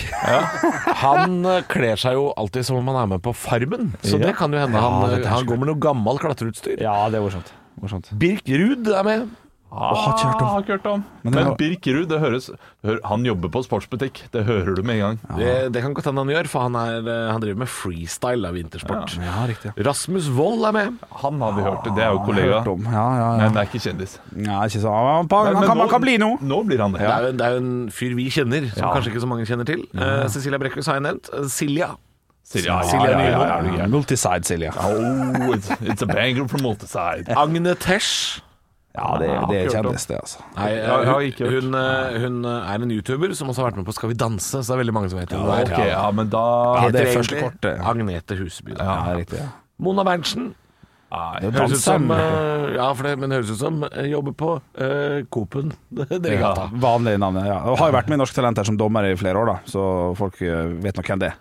Han eh, kler seg jo alltid som om han er med på Farmen, så
Ja.
det kan jo hende han,
det er
han går med noe gammel klatreutstyr.
Ja, det er morsomt. morsomt.
Birk Ruud er med.
Ah,
har ikke hørt om.
Har ikke hørt om.
Men
Men,
det er jo-
Birkerud, det høres hør, Han jobber på sportsbutikk. Det hører du med en gang.
Det, det kan godt hende han gjør, for han, er, eh, han driver med freestyle av vintersport.
Ja, riktig.
Rasmus Wold er med.
Han har vi Ah, hørt. Det er jo kollega.
Hørt om. Ja, ja, ja.
Men det er ikke kjendis.
ja ikke så. Han, han,
Men- men
kan, han kan bli nå.
Nå blir han det.
Det er, jo, det er jo en fyr vi kjenner, som kanskje ikke så mange kjenner til. Eh, Cecilia Brekkhus har jeg nevnt. Eh, Silja.
Silja, ja,
Silja
ja, ja, ja, er du
Ja,
gæren?
Multiside, Silje.
Oh, it's, it's a banger from multiside.
Agne Tesh.
Ja, det, det er
ikke hørt om.
kjendis, det, altså.
Nei, eh,
Ja, jeg har ikke hørt.
hun, hun, eh, hun er en youtuber som også har vært med på Skal vi danse, så det er veldig mange som vet hvem hun er.
Ok, ja, men da
Ja, det er
Heter
første
egentlig
kortet.
Agnete Huseby.
Ja, riktig. Ja.
Mona Berntsen.
Nei,
Det er
Høres ut som,
danseren.
eh, ja, for det, men høres ut som eh, jobber på eh, Coop-en nede i
Ja,
gata.
vanlig navn, ja. Og har jo vært med i Norske Talenter som dommer i flere år, da, så folk eh, vet nok hvem det er.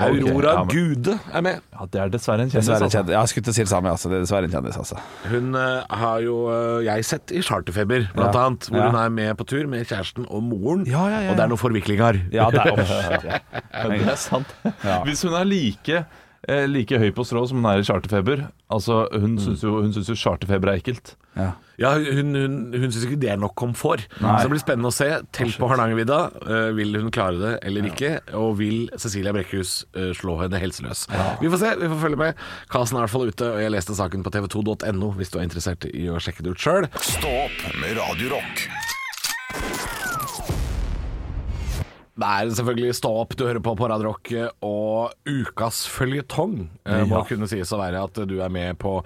Aurora
ja, men-
Gude er med.
ja, det er dessverre en kjendis.
Dessverre
altså.
kjendis. Ja, jeg skulle til å si det samme, altså. Det er dessverre en kjendis, altså.
Hun eh, har jo eh, jeg sett i Charterfeber, blant
Ja.
annet. Hvor
Ja.
hun er med på tur med kjæresten og moren,
Ja, ja, ja,
og det er noen forviklinger.
Ja, det er ja.
Ja, det er sant.
Ja.
Hvis hun er like, eh, like høy på strå som hun er i charterfeber Altså, Hun syns jo, hun syns jo charterfeber er ekkelt.
Ja.
Ja, hun hun, hun syns ikke det er nok komfort. Så det blir spennende å se. Telt på Hardangervidda. eh, vil hun klare det eller ikke? Og vil Cecilia Brekkhus eh, slå henne helseløs? Vi får se, vi får følge med. Casen er i hvert fall ute, og jeg leste saken på tv2.no hvis du er interessert i å sjekke det ut sjøl.
Stå opp med Radio Rock.
Det er selvfølgelig Stå opp, du hører på på Radio Rock, eh, og ukas føljetong eh, må kunne sies å være at du er med på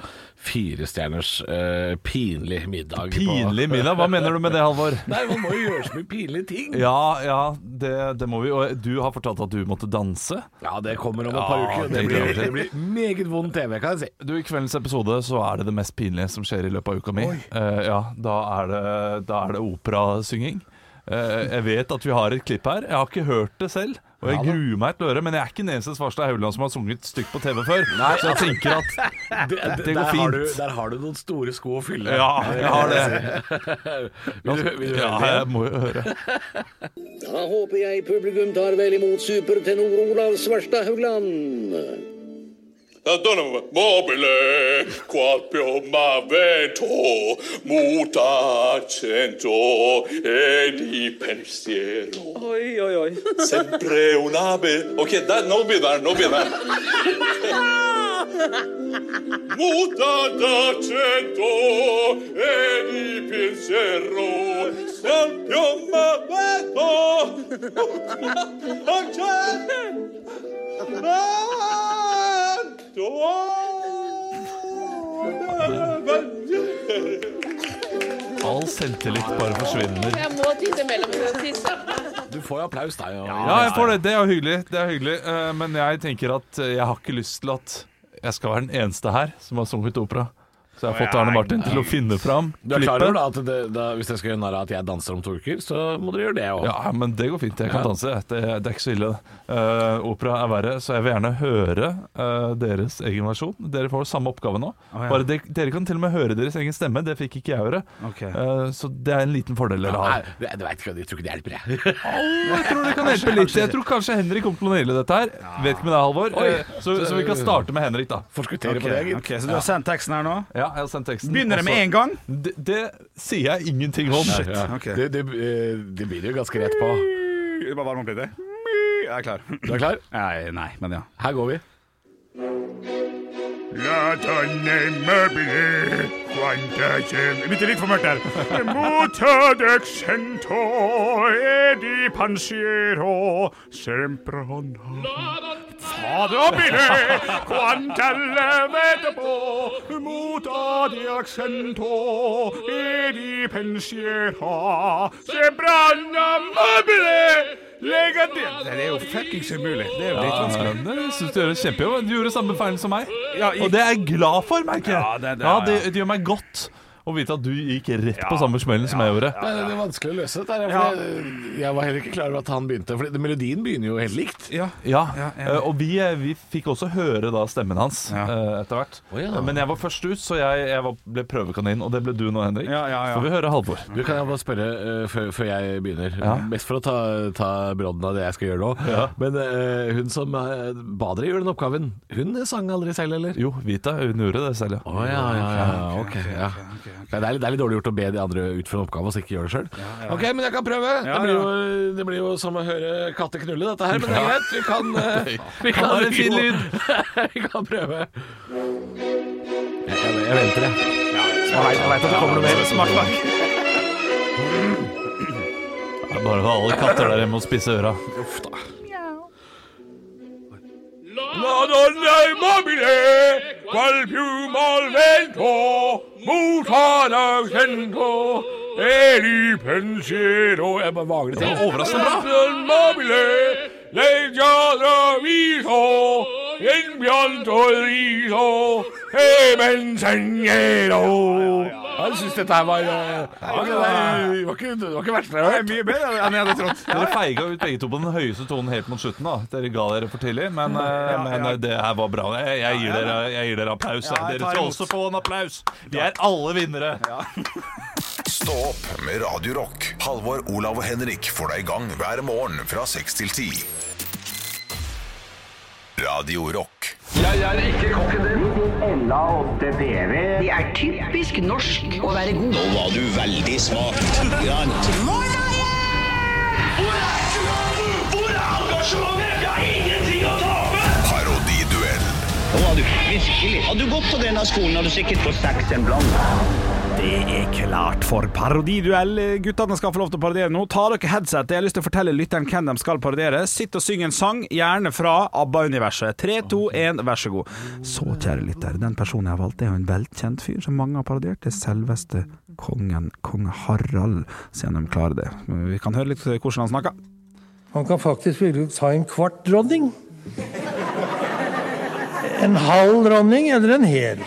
Firestjerners eh, pinlig middag. på-
Pinlig middag? Hva mener du med det, Halvor?
Nei, man må jo gjøre så mye pinlige ting.
Ja, ja, det, det må vi. Og du har fortalt at du måtte danse.
Ja, det kommer om et
Ja,
par uker. Det
det
blir,
gleder jeg
det
meg
blir meget vond TV, kan jeg si.
Du, I kveldens episode så er det det mest pinlige som skjer i løpet av uka mi. Eh, ja, da er det, da er det operasynging. Eh, jeg vet at vi har et klipp her. Jeg har ikke hørt det selv. Og jeg gruer meg til å høre, men jeg er ikke den eneste Svarstad Haugland som har sunget et stykk på TV før. så jeg tenker at det går
der Har
fint.
du, der har du noen store sko å fylle.
Ja, jeg har det.
Vil du, vil du
Ja,
høre det?
jeg må jo høre.
Da håper jeg publikum tar vel imot supertenor Olav Svarstad Haugland.
Mobile, quattro ma vento, mutacento e di pensiero.
Oi, oi, oi.
Sempre una be... Ok, der, nå begynner den, nå begynner den. Mutacento e di pensiero, sempre ma vento, mutacento
All selvtillit bare forsvinner.
Jeg må tisse mellom for å tisse.
Du får jo applaus, deg. og-
Ja, jeg får det. Det er jo hyggelig. Det er hyggelig. Eh, Men jeg tenker at jeg har ikke lyst til at jeg skal være den eneste her som har sunget opera. Så jeg har fått Arne Martin til å finne fram
Du er klar over
klippet.
da, at det, da, hvis jeg skal gjøre narr av at jeg danser om to uker, så må dere gjøre det òg.
Ja, men det går fint. Jeg kan danse. Det, det er ikke så ille. Eh, opera er verre, så jeg vil gjerne høre eh, deres egen versjon. Dere får samme oppgave nå.
ja.
Bare de, dere kan til og med høre deres egen stemme. Det fikk ikke jeg høre.
Ok.
Eh, så det er en liten fordel dere har.
Nei, jeg, jeg, vet ikke, jeg tror ikke det hjelper, jeg.
Jeg tror det kan hjelpe litt. Jeg tror kanskje Henrik kommer til å naile dette her. Vet ikke med deg, Halvor. Eh, Så, så vi kan starte med Henrik, da.
Forskuttere på det,
Ok,
gitt.
ok, så du har sendt teksten Mm, altså- her nå?
Ja, jeg har sendt teksten. Altså,
Begynner det med en gang?
Det, det sier jeg ingenting om.
Ja.
ok.
Det, det, eh, det blir jo ganske rett på.
Du bare varme opp litt, jeg. Jeg er klar.
Du er klar?
Nei, nei, men ja.
Her går vi.
La donne mobile quantasem Det er litt for mørkt der. Mota dexento e di pensiero sempre ona. Fado bile quanta levete po muta di accento e di pensiero sempre ona mobile legatil.
Det er jo fuckings umulig. Det er jo
Ja,
dritvanskelig.
det synes du gjør en kjempejobb. Du gjorde samme feilen som meg.
Ja, i-
Og det er jeg glad for, merker jeg.
Ja, det- det-
ja,
ja,
det,
ja.
det gjør meg godt å vite at du gikk rett på samme smellen som jeg gjorde.
Det, det er vanskelig å løse dette. her, for jeg, jeg var heller ikke klar over at han begynte. For det- melodien begynner jo helt likt.
Ja.
Ja,
ja.
eh, Og vi, eh, vi fikk også høre da stemmen hans eh, etter hvert.
ja.
Men jeg var først ut, så jeg, jeg var, ble prøvekanin. Og det ble du nå, Henrik.
Ja, ja, ja.
Får vi høre Halvor.
Du kan jeg bare spørre eh, før, før jeg begynner. Mest for å ta, ta brodden av det jeg skal gjøre nå. Men eh, hun som eh, ba dere gjøre den oppgaven, hun sang aldri selv, eller?
Jo, Vita, hun gjorde det selv, ja.
Å ja, ja, ja. Ok. ja. Det er, litt, det er litt dårlig gjort å be de andre utføre en oppgave og så ikke gjøre det sjøl. Ok, men jeg kan prøve.
Ja,
det, blir jo, det blir jo som å høre katter knulle, dette her. Men det er greit. Vi kan, eh, vi kan ha en fin lyd. vi kan prøve. Jeg, jeg, jeg venter, jeg. Jeg vet- jeg vet at det kommer noe mer.
Smart bak.
Det er bare for alle katter der hjemme å spisse øra.
La donna mobile, qual più mal vento, mutana sento, e di pensiero... Jeg bare vager det
til.
Overraskende bra. mobile, lei giallo viso, in bianco il riso, e mensegnero.
Jeg syns dette her var eh, Det var ikke det var ikke verst jeg har hørt.
Mye bedre enn jeg hadde trodd.
Dere feiga ut begge to på den høyeste tonen helt mot slutten. da Dere ga dere for tidlig, men, eh, men eh, det her var bra. Jeg, jeg, gir, dere, jeg gir dere applaus.
Ja, jeg
dere
tar
skal
imot.
også få en applaus. Vi er alle vinnere.
Stå opp med Radio Rock. Halvor, Olav og Henrik får deg i gang hver morgen fra 6 til 10. Radio Rock.
Jeg er ikke kokken din. LA 8DV. Det er typisk norsk å være god. Nå var du veldig smart.
Hvor er engasjementet? Jeg har ingenting å tape!
Parodiduell.
Nå var du virkelig. Hadde du gått på denne skolen, hadde du sikkert fått seks en blant.
Det er klart for parodiduell. Guttene skal få lov til å parodiere nå. Ta dere headsetet. Jeg har lyst til å fortelle lytteren hvem de skal parodiere. Sitt og syng en sang, gjerne fra ABBA-universet. Tre, to, én, vær så god. Så, kjære lytter, den personen jeg har valgt, er jo en velkjent fyr som mange har parodiert. Det er selveste kongen, kong Harald, se om de klarer det. Vi kan høre litt hvordan han snakker.
Han kan faktisk virkelig ta en kvart dronning. En halv dronning eller en hel.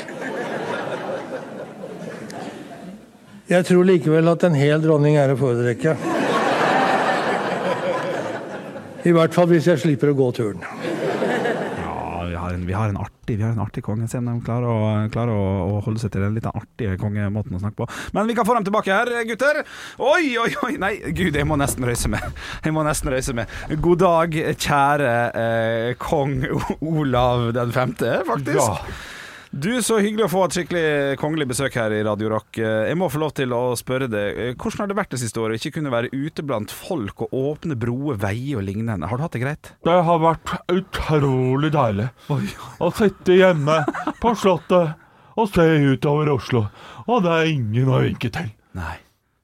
Jeg tror likevel at en hel dronning er å foretrekke. I hvert fall hvis jeg slipper å gå turen.
Ja, vi har en, vi har en, artig, vi har en artig konge. Se om de klarer, å, klarer å, å holde seg til den litt artige kongemåten å snakke på. Men vi kan få dem tilbake her, gutter. Oi, oi, oi! Nei, gud, jeg må nesten røyse med. Jeg må nesten røyse med. God dag, kjære eh, kong O- Olav den femte, faktisk.
Ja.
Du, Så hyggelig å få et skikkelig kongelig besøk her i Radio Rock. Eh, Jeg må få lov til å spørre deg, eh, hvordan har det vært det siste året å ikke kunne være ute blant folk og åpne broer, veier og lignende? Har du hatt det greit?
Det har vært utrolig deilig å sitte hjemme på Slottet og se utover Oslo. Og det er ingen å vinke til.
Nei.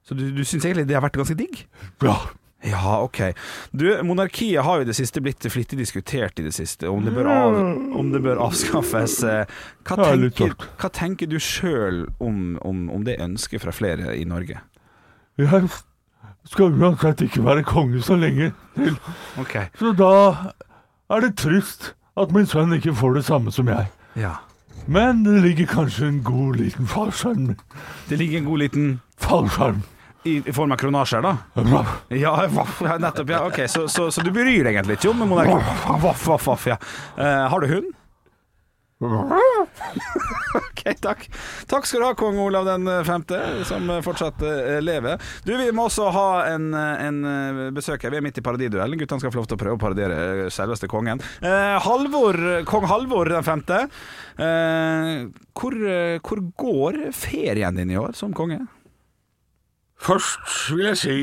Så du, du syns egentlig det har vært ganske digg?
Ja.
Ja, ok. Du, monarkiet har jo i det siste blitt flittig diskutert i det siste, om det bør, av, om det bør avskaffes. Eh, Hva
Ja, litt
tenker, hva tenker du sjøl om, om, om det ønsket fra flere i Norge?
Jeg skal uansett ikke være konge så lenge til.
Ok.
Så da er det trist at min sønn ikke får det samme som jeg.
Ja.
Men det ligger kanskje en god liten fallskjerm
Det ligger en god liten
Fallskjerm.
I, i form av kronasjer, da? Ja, vaff, ja, nettopp. ja, ok. Så, så, så du bryr deg egentlig ikke om monarkiet? Vaff, vaff, vaff, ja. Eh, har du hund? OK, takk. Takk skal du ha, kong Olav den femte, som fortsatt eh, lever. Du, vi må også ha en, en eh, besøker. Vi er midt i parodiduellen. Guttene skal få lov til å prøve å parodiere eh, selveste kongen. Eh, Halvor, kong Halvor den femte. Eh, hvor, eh, hvor går ferien din i år som konge?
Først vil jeg si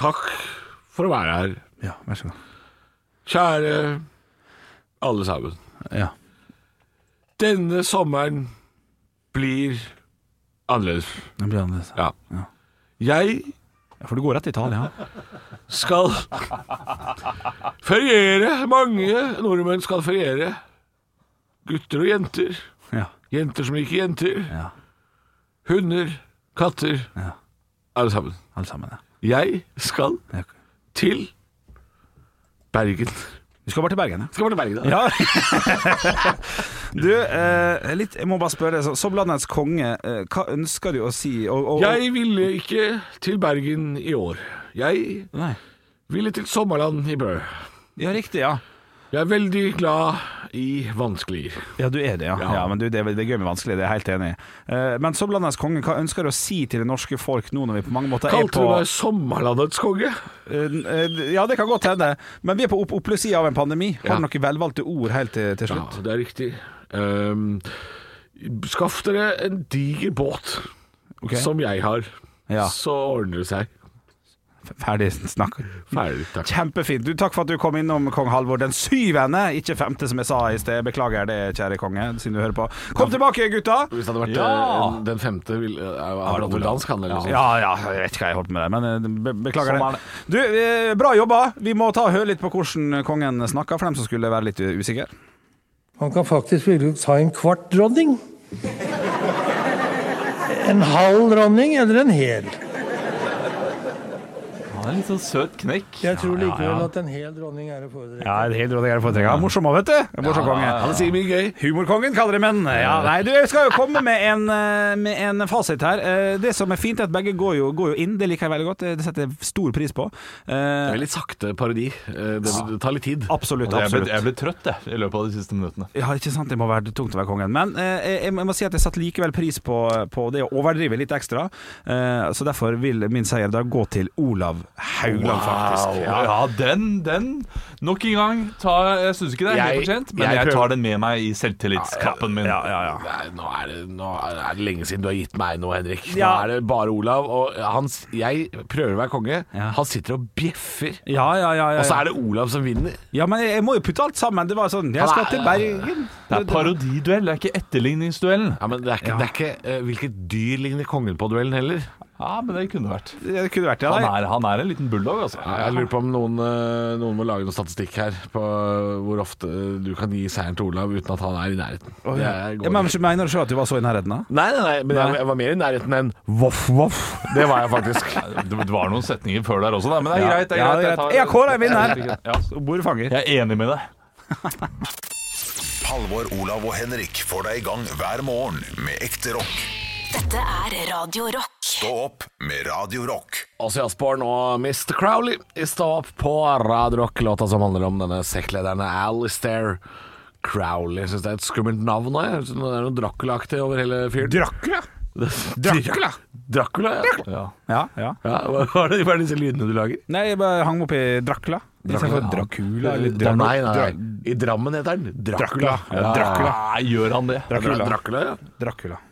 takk for å være her.
Ja, vær så god.
Kjære alle sammen.
Ja.
Denne sommeren blir annerledes.
Den blir annerledes.
Ja. Jeg
For du går rett til Italia?
Skal feriere. Mange nordmenn skal feriere. Gutter og jenter.
Ja.
Jenter som liker jenter. Hunder, katter. Alle sammen.
Alle sammen, ja.
Jeg skal til Bergen.
Du skal bare til Bergen, ja?
Skal bare til Bergen,
Ja. Du, eh, litt, jeg må bare spørre så- Som landets konge, eh, hva ønsker du å si? Og, og,
Jeg ville ikke til Bergen i år. Jeg ville til sommerland i Bø.
Ja, riktig, ja.
Jeg er veldig glad i vanskeligere.
Ja, du er det, ja. ja. men du, det, er- det er gøy med vanskelig, det er jeg helt enig i. Eh, men som landets konge, hva ønsker du å si til det norske folk nå når vi på mange måter er
Kalte du
på
meg sommerlandets konge?
Eh, eh, Ja, det kan godt hende, men vi er på opp oppløsida av en pandemi. Har
Ja.
du noen velvalgte ord helt til, til slutt?
Ja, det er riktig. Ehm, skaff dere en diger båt.
Ok.
som jeg har,
Ja.
så ordner det seg.
Ferdig snakk.
Ferdig, takk.
Kjempefint. Du, takk for at du kom innom, kong Halvor den syvende, ikke femte, som jeg sa i sted. Beklager det, kjære konge, siden du hører på. Kom tilbake, gutta!
Hvis det hadde vært
Ja.
eh, en- den femte vil, eh, er det dansk, han eller noe sånt.
Ja, ja, jeg vet ikke hva jeg holdt på med der, men eh, be beklager
Sånn er
det. Du, eh, bra jobba. Vi må ta og høre litt på hvordan kongen snakker, for dem som skulle være litt usikre.
Han kan faktisk velge å ta en kvart dronning. En halv dronning eller en hel.
Han er litt sånn søt knekk.
Jeg tror likevel at en hel dronning er å foretrekke.
Ja, det er helt råd jeg foretrekker. Han er Morsom òg, vet du. Morsom
Ja,
konge.
ja, ja. Han
sier mye gøy.
Humorkongen kaller det menn. Ja, nei, du, jeg skal jo komme med en, eh, med en fasit her. Eh, Det som er fint, er at begge går jo, går jo inn. Det liker jeg veldig godt. Eh, Det setter jeg stor pris på.
Det er
Eh,
litt sakte parodi. Eh, Det, det tar litt tid.
Absolutt.
Jeg ble,
absolutt.
jeg ble trøtt jeg, i løpet av de siste minuttene.
Ja, ikke sant. Det må være tungt å være kongen. Men eh, jeg, jeg må si at jeg satte likevel pris på, eh, på det å overdrive litt ekstra. Eh, så derfor vil min seier da gå til Olav Haugland, faktisk.
Ja, ja den, den Nok en gang. tar jeg- jeg syns ikke det er helt
Jeg-
fortjent, men
jeg
jeg,
prøver-
tar den med meg i selvtillitsklappen min.
Ja, ja, ja.
Nei, nå er, det, nå er det lenge siden du har gitt meg noe, Henrik. Nå
Ja.
er det bare Olav. Og han, s- jeg prøver å være konge. Han sitter og bjeffer.
Ja, ja, ja, ja.
Og så er det Olav som vinner.
ja, men jeg må jo putte alt sammen. Det var sånn Jeg skal til Bergen.
Det er parodiduell, det er ikke etterligningsduellen.
Ja, men det er ikke, det er ikke eh, hvilket dyr ligner kongen på duellen heller.
Ja, men det kunne vært.
Det kunne vært det.
Han
da.
er, han er en liten bulldog, altså.
Ja, Jeg lurer på om noen, eh, noen må lage noe statistikk her på hvor ofte eh, du kan gi seieren til Olav uten at han er i nærheten.
Å,
Det
ja.
er- går
Ja, men
ikke.
Mener du selv at du var så i nærheten, da?
Nei, nei, nei, men jeg, jeg var mer i nærheten enn voff-voff. Det var jeg faktisk.
Det det var noen setninger før der også, da, men det er
Ja.
greit. det er
Ja,
greit.
det er greit. Jeg kårer en vinner.
Ja,
Bordfanger.
Jeg er enig med deg.
Halvor, Olav og Henrik får deg i gang hver morgen med ekte rock.
Dette er Radio Rock.
Stå opp med Radio Rock.
Ozzy Osbourne og Mr. Crowley i Stå opp på Radio Rock, låta som handler om denne sekklederen Alistair Crowley. Jeg syns det er et skummelt navn. også, Jeg synes det er noe Dracula-aktig over hele fyren.
Dracula?
Dracula? Dracula, ja.
Ja.
Ja, ja.
ja hva, hva, er det, hva er disse lydene du lager?
Nei, jeg bare hang meg opp i Dracula. Istedenfor Dracula eller
Dra-
Dra-
nei, nei, nei. I Drammen heter den Dracula.
Dracula. Ja, Dracula.
Nei, gjør han det?
Dracula.
Dracula.
Dracula ja.
Dracula.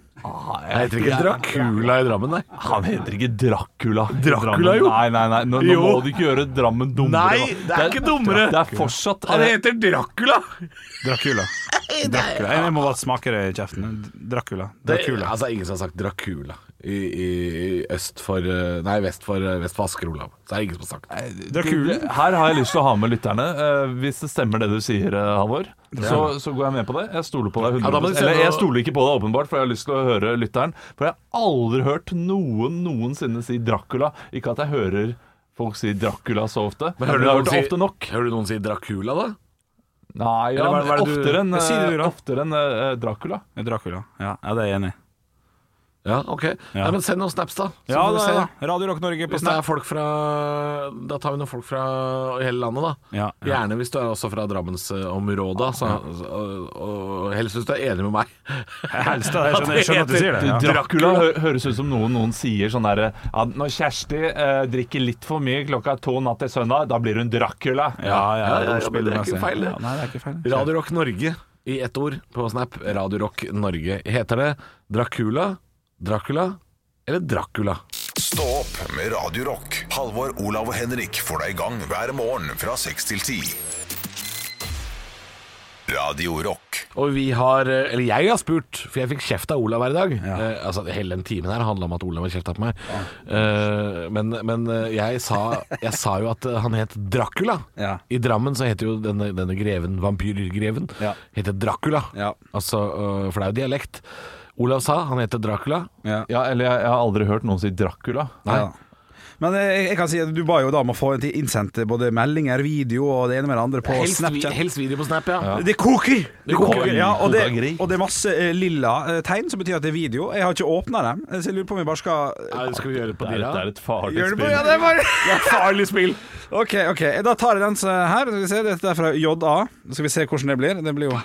Jeg heter ikke Dracula i Drammen, nei.
Han heter ikke Dracula. i
Dracula,
Drammen.
jo.
Nei, nei, nei. Nå, nå
Jo.
må du ikke gjøre Drammen dummere.
Nei,
nå.
det er ikke dummere.
Det er fortsatt
Han
eh,
heter Dracula!
Dracula. Dracula. Jeg må bare smake det i kjeften. Dracula.
Det,
Dracula.
altså, ingen som har sagt Dracula i, i, i øst for eh, Nei, vest for, eh, vest for Asker, Olav. Så er det ingen som har sagt det.
Dracula.
du- Her har jeg lyst til å ha med lytterne. Eh, hvis det stemmer det du sier, eh, Halvor, så, så går jeg med på det. Jeg stoler på deg
Ja, da må
100
du sende-
Eller jeg stoler ikke på deg åpenbart, for jeg har lyst til å høre lytteren. For jeg har aldri hørt noen noensinne si Dracula. Ikke at jeg hører folk si Dracula så ofte, men jeg har hørt det ofte nok.
Hører du noen si Dracula, da?
Nei,
Eller
ja,
hva- hva er det du-
oftere enn
Hva sier du
eh,
da?
oftere enn, eh, Dracula.
Dracula. Ja, ja, det er jeg enig i.
Ja, ok. Nei, men send noen snaps, da. Så
Ja,
får vi
da,
se.
da. Radio Rock Norge på
Hvis det er
Snap.
folk fra Da tar vi noen folk fra hele landet, da.
Ja, ja.
Gjerne hvis du er også fra Drammensområdet. så- så- og- Og helst hvis du er enig med meg.
Helst, da. Jeg skjønner, jeg skjønner at du sier det. Ja.
Dracula hø høres ut som noen noen sier sånn derre ja, Når Kjersti eh, drikker litt for mye klokka to natt til søndag, da blir hun Dracula.
Ja, ja,
Ja, ja, ja,
ordspill,
men det er
må jeg
ikke
si.
feil, det.
Ja, nei, det er ikke feil.
Radio Rock Norge i ett ord på Snap. Radio Rock Norge. Heter det Dracula, Dracula eller Dracula?
Stå opp med Radio Rock. Halvor, Olav og Henrik får deg i gang hver morgen fra 6 til 10. Radio Rock.
Og vi har, eh, eller jeg har spurt, for jeg fikk kjeft av Olav hver dag. Eh, altså Hele den timen her handla om at Olav har kjefta på meg. Eh, men men eh, jeg, sa, jeg sa jo at eh, han het Dracula.
Ja.
I Drammen så heter jo denne, denne greven, vampyrgreven,
Ja.
heter Dracula.
Ja.
Altså, eh, for det er jo dialekt. Olav sa han heter Dracula.
Ja.
Ja, eller jeg, jeg har aldri hørt noen si Dracula.
Nei.
Ja. Men eh, jeg, jeg kan si at du ba jo da om å få en til innsendt både meldinger, video og det ene med det andre på
Helst, vi,
Snapchat.
helst video på Snap, ja.
Det koker! Det
koker.
koker, ja, og,
Koker
det,
gris.
og det er masse eh, lilla eh, tegn, som betyr at det er video. Jeg har ikke åpna dem, eh, så jeg lurer på om vi bare skal
Ja, Skal vi gjøre det på
Det er,
dyra?
det er et farlig
Gjør det på, ja,
spill.
det er bare
farlig spill!
Ok, ok, da tar jeg den så- her Skal vi se, dette er fra JA Skal vi se hvordan det blir Det blir jo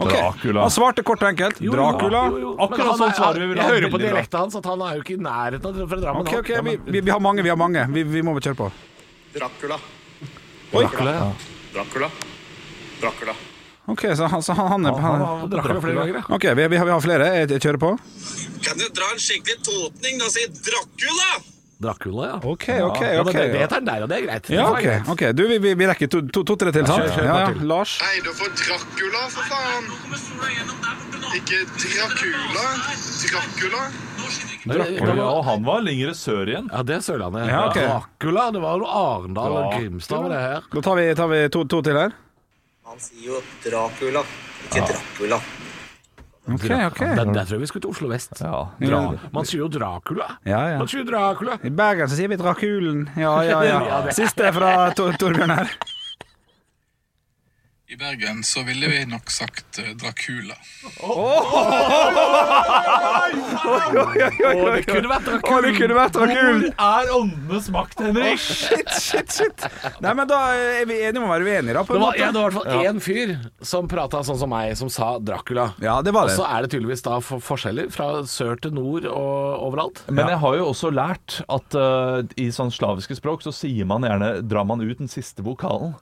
Ok.
Dracula.
Han svarte kort og enkelt Dracula
Akkurat sånn svarer vi vil ha.
Jeg hører på
Veldig bra.
dialekten hans at han er jo ikke i nærheten av fra Drammen.
Ok,
han.
ok, vi, vi, vi har mange, vi har mange Vi, vi må bare kjøre på
Dracula, ja.
Ok, så han, så han, han, er- han
Dracula flere ganger, ja.
Ok, vi, vi, har, vi har flere Jeg jeg kjører på
kan jo dra en skikkelig tåtning og si Dracula!
Dracula, ja.
Ok,
Ja,
ok,
ja, men
ok.
det, det tar den der, og det er greit.
Ja, ok. ok. Du, vi, vi, vi rekker to- to- to-tre til, sant?
Kjør, kjør,
Ja, ja.
kjør til.
Lars?
Nei, du får Dracula, for faen. Ikke Dracula. Dracula.
Ja, og han var lengre sør igjen.
Ja, det er Sørlandet.
Ja, ok.
Dracula, det var jo Arendal og
Ja.
Grimstad var det her.
Da tar vi, tar vi to, to til her.
Han sier jo Dracula, ikke Dracula.
Ok, ok.
Ja, Der, der tror jeg vi skulle til Oslo vest. Dra. Man sier jo Dracula.
Ja, ja.
Man sier Dracula.
I Bergen så sier vi Draculen. Ja, ja, ja.
Ja, det-
Siste fra Tor- Torbjørn her.
I Bergen så ville vi nok sagt eh, Dracula.
Å,
Det kunne vært Dracul. Å, det kunne vært Dracul.
Hvor er åndenes makt,
Å,
Henrik?
shit, shit, shit. Nei, men da er vi enige om å være uenige, da. På
Det
en
var,
måte.
ja, det var i hvert fall én fyr som prata sånn som meg, som sa Dracula.
Ja, det var det.
Og så er det tydeligvis da for forskjeller fra sør til nord og overalt.
Men jeg har jo også lært at eh, i sånn slaviske språk så sier man gjerne Drar man ut den siste vokalen.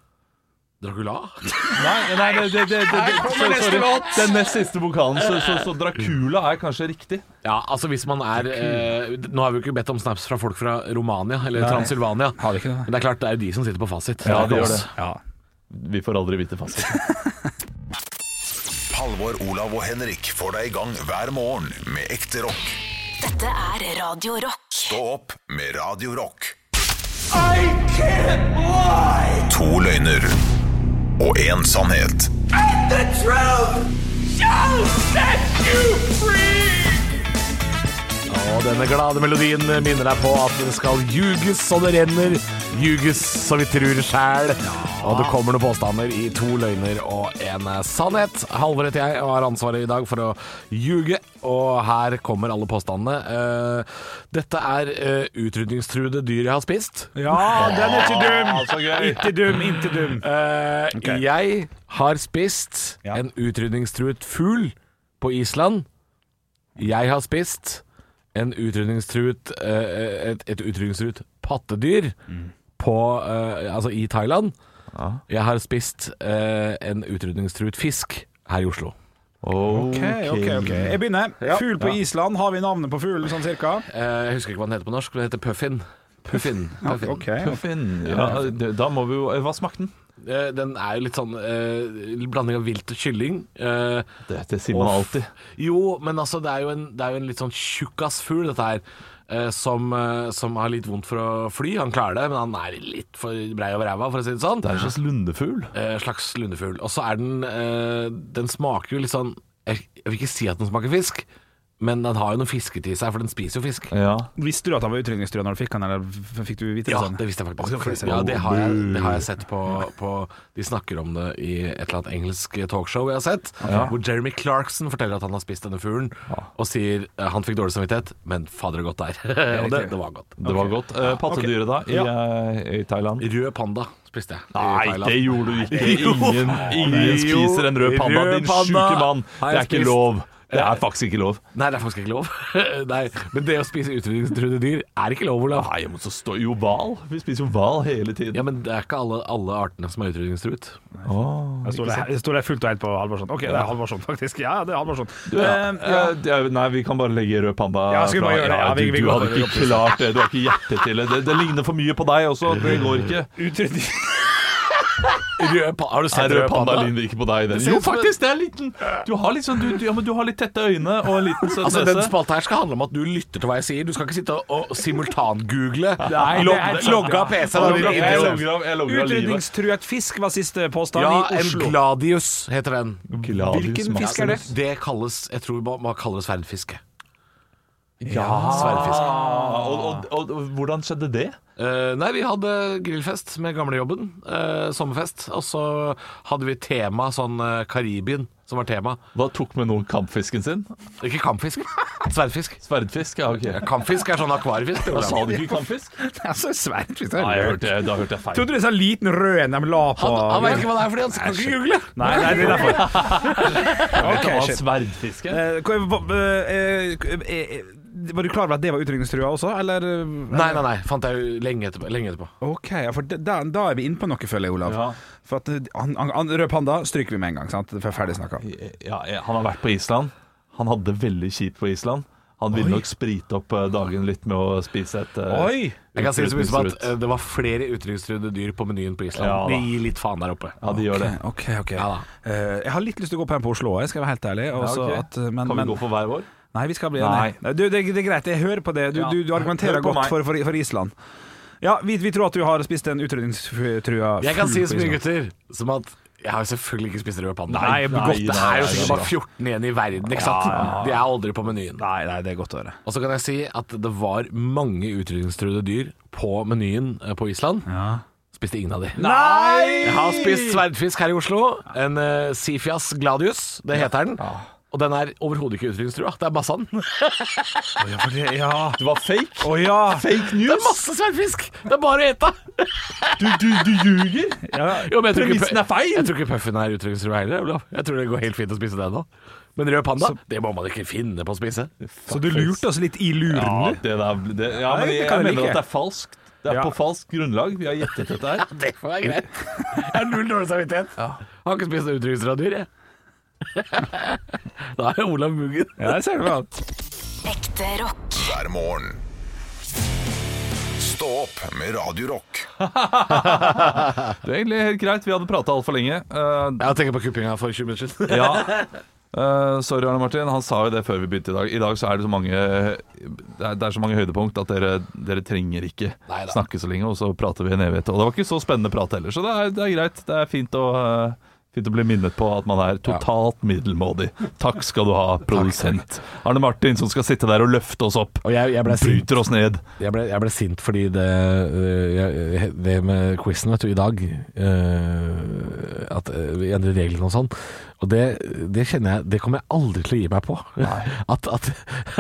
Dracula?
Nei, nei det, det, det, det, det,
kommer neste låt.
Den nest siste vokalen, så, så, så Dracula er kanskje riktig.
Ja, altså hvis man er eh, Nå har vi jo ikke bedt om snaps fra folk fra Romania eller
Nei.
Transylvania.
Har vi ikke det?
Men det er klart det er jo de som sitter på fasit.
Ja,
ikke
det gjør
oss.
det. Vi får aldri vite fasiten.
Halvor, Olav og Henrik får deg i gang hver morgen med ekte rock.
Dette er Radio Rock.
Stå opp med Radio Rock.
I can't lie!
To løgner og én sannhet.
And the truth shall set you free!
Og denne glade melodien minner deg på at det skal ljuges så det renner, ljuges så vi tror sjæl. Og det kommer noen påstander i to løgner og en eh, sannhet. Halvor heter jeg og har ansvaret i dag for å ljuge, og her kommer alle påstandene. Eh, Dette er eh, utrydningstruede dyr jeg har spist.
Ja, den er ikke dum.
Ah, så gøy.
Ikke dum, ikke dum.
Eh,
Ok.
Jeg har spist en utrydningstruet fugl på Island. Jeg har spist en utrydningstruet eh, et, et utrydningstruet pattedyr
Mm.
på, eh, altså i Thailand. Jeg har spist eh, en utrydningstruet fisk her i Oslo.
Ok, ok, ok. Jeg begynner. Fugl på
Ja.
Island. Har vi navnet på fuglen, sånn cirka?
Eh, jeg husker ikke hva den heter på norsk, men den heter puffin. Puffin. puffin.
ok.
Puffin. Ja, det- da må vi jo eh, Hva smakte den?
Eh, Den er jo litt sånn eh, blanding av vilt og kylling. eh,
Det, det sier man
Og-
alltid.
Jo, men altså, det er jo en, det er jo en litt sånn tjukkasfugl, dette her. eh, Som, eh, som har litt vondt for å fly. Han klarer det, men han er litt for brei over ræva, for å si det sånn.
Det er en slags lundefugl.
Eh, slags lundefugl. Og så er den eh, Den smaker jo litt sånn Jeg jeg vil ikke si at den smaker fisk, men den har jo noe fiskete i seg, for den spiser jo fisk.
Ja.
Visste du at han var utrydningstrua når du fikk han, eller f- fikk du vite det?
Ja,
sånn?
det visste jeg faktisk.
Ok, ok,
ja, det, har jeg, det har jeg sett på, på De snakker om det i et eller annet engelsk talkshow jeg har sett.
Ja.
Hvor Jeremy Clarkson forteller at han har spist denne fuglen, og sier eh, han fikk dårlig samvittighet, men fader, det godt der. Og det, det var godt.
Det var godt. Eh, pattedyret, da? I, eh, I Thailand?
Rød panda spiste jeg. i
Nei,
Thailand.
det gjorde du ikke.
Nei, jo.
Ingen, ingen
Jo,
spiser en rød panda,
rød
din
panda
sjuke mann.
har
Det er
jeg
ikke
spist.
lov. Det er faktisk ikke lov.
Nei, det er faktisk ikke lov. Nei, men det å spise utrydningstruede dyr er ikke lov, Olav.
Nei, men så står jo hval. Vi spiser jo hval hele tiden.
Ja, men det er ikke alle, alle artene som er utrydningstruet.
Åh,
Jeg sto
ikke
der-
sant?
jeg sto der fullt og helt på Halvorsson. Ok, det er Halvorsson, faktisk. Ja, det er Halvorsson.
Du,
Eh,
ja. Eh, det er- Nei, vi kan bare legge rød panda
Ja, skal vi bare
fra-
gjøre det? Ja, vi-
du,
vi
du
går
hadde
for
ikke
rød.
klart det. Du har ikke hjerte til det. det. Det ligner for mye på deg også. Det går ikke.
Utrydning
Rød pa har du
Nei,
sett
rød panda ligner ikke på deg. Den.
ser
Jo,
ut som en-
faktisk. Det er en liten Du har litt sånn du, du, ja, men du har litt tette øyne og en liten søt
Altså, Den
nese.
spalta her skal handle om at du lytter til hva jeg sier. Du skal ikke sitte og simultangoogle.
Nei, det er sant,
Logge av
ja.
PC-en. og din
Jeg
idiot.
logger av- jeg logger av livet.
Utrydningstruet fisk var siste påstand
Ja,
i
en
Oslo.
gladius heter den.
Gladius
Hvilken
Maximus.
fisk er det?
Det kalles Jeg tror man, man kaller det sverdfiske.
Ja,
Sverdfiske.
og, og, og, og hvordan skjedde det?
Eh, nei, vi hadde grillfest med gamlejobben. Uh, sommerfest. Og så hadde vi tema sånn eh, Karibien som var tema.
Hva tok med noen kampfisken sin?
Ikke kampfisk. Sverdfisk.
Sverdfisk? Ja, ok.
Kampfisk er sånn akvariefisk. det,
Da
Olav.
sa du ikke kampfisk?
Altså, svært fisk.
Nei,
Nei,
jeg hørte, da hørte jeg feil.
Trodde du sa liten rød en de la på
Han, han vet ikke hva det er fordi han kan ikke google.
Nei, nei, det er derfor.
Jeg kan
Ok,
ha
shit.
sverdfiske.
Eh, hva- hva- eh, eh, eh, Var du klar over at det var utrydningstrua også, eller?
Nei, nei, nei. Fant jeg jo lenge etterpå. Lenge etterpå.
Ok, ja, for det- da, da er vi inne på noe, føler jeg, Olav.
Ja.
For at, eh, han, han, han- rød panda stryker vi med en gang, sant? For ferdig snakka.
Ja, ja, han har vært på Island. Han hadde det veldig kjipt på Island. Han ville nok sprite opp eh, dagen litt med å spise et eh,
Jeg kan si det så mye som at
utrydningstrutt.
eh, det var flere utrydningstruede dyr på menyen på Island.
Ja, da.
de gir litt faen der oppe.
Ja, de gjør det.
Ok, ok. Eh, jeg har litt lyst til å gå på en på Oslo, jeg skal være helt ærlig. også
ok.
at, eh, men-
Kan vi
men-
gå for hver vår?
Nei, vi skal bli
Nei.
enige. Nei, Du, det, det er greit, jeg hører på det. Du,
Ja.
du, du argumenterer
Hør på
godt
meg.
for, for, for Island. Ja, vi, vi tror at du har spist en utrydningstrua
Jeg kan
fugl
si
på
så mye,
Island.
gutter, som at jeg har jo selvfølgelig ikke spist rød panda.
Nei,
Det er
nei,
godt, det
nei,
er jo
nei,
sikkert
nei.
bare 14 igjen i verden, ikke sant?
Ja, ja, ja.
De er aldri på menyen.
Nei, nei, det er godt å høre.
Og så kan jeg si at det var mange utrydningstruede dyr på menyen eh, på Island. Spiste ingen av de.
Nei!
Jeg har spist sverdfisk her i Oslo. En eh, Sifias gladius, det heter den. Og den er overhodet ikke utrydningstrua. Det er bare sand.
Ja, for det, ja.
Det var fake.
Å ja.
Fake news!
Det er masse sverdfisk! Det er bare å ete.
Du, du, du ljuger!
Jo, men jeg tror ikke-
Premissen er feil!
Jeg tror ikke puffen er utrydningstrua heller, Olav. Jeg tror det går helt fint å spise det nå. Men rød panda, det må man ikke finne på å spise.
Så du lurte oss litt i luren?
Ja, det der, det, ja men
Nei,
jeg,
det kan jeg
mener
like.
at det er falskt. Det er
Ja.
på falskt grunnlag. Vi har gjettet dette her.
Det får være greit. Jeg har null dårlig samvittighet. Jeg Har ikke spist utrydningstrua dyr, jeg. Da er jeg Olav Muggen.
Ja, det ser du vel.
Ekte rock.
hver morgen. Stå opp med Radio Rock.
Det er egentlig helt greit. Vi hadde prata altfor lenge. Eh,
Jeg tenker på kuppinga for 20 minutter siden.
ja. Eh, sorry, Arne Martin. Han sa jo det før vi begynte i dag. I dag så er det så mange Det er, det er så mange høydepunkt at dere, dere trenger ikke
Neida.
snakke så lenge, og så prater vi en evighet. Og det var ikke så spennende prat heller, så det er, det er greit. Det er fint å, eh, fint å bli minnet på at man er totalt middelmådig. Takk skal du ha, produsent Arne Martin, som skal sitte der og løfte oss opp.
Og jeg, jeg ble sint.
Bryter oss ned.
Jeg ble, jeg ble sint fordi det, øh, jeg- det med quizen vet du, i dag øh, At øh, vi endrer reglene og sånn. Og det, det kjenner jeg Det kommer jeg aldri til å gi meg på. At, at,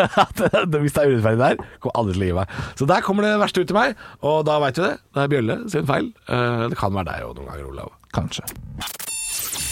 at Hvis det er urettferdig der, kommer jeg aldri til å gi meg. Så der kommer det verste ut i meg, og da veit du det. Det er Bjølle sin feil. Eh, Det kan være deg òg noen ganger, Olav.
Kanskje.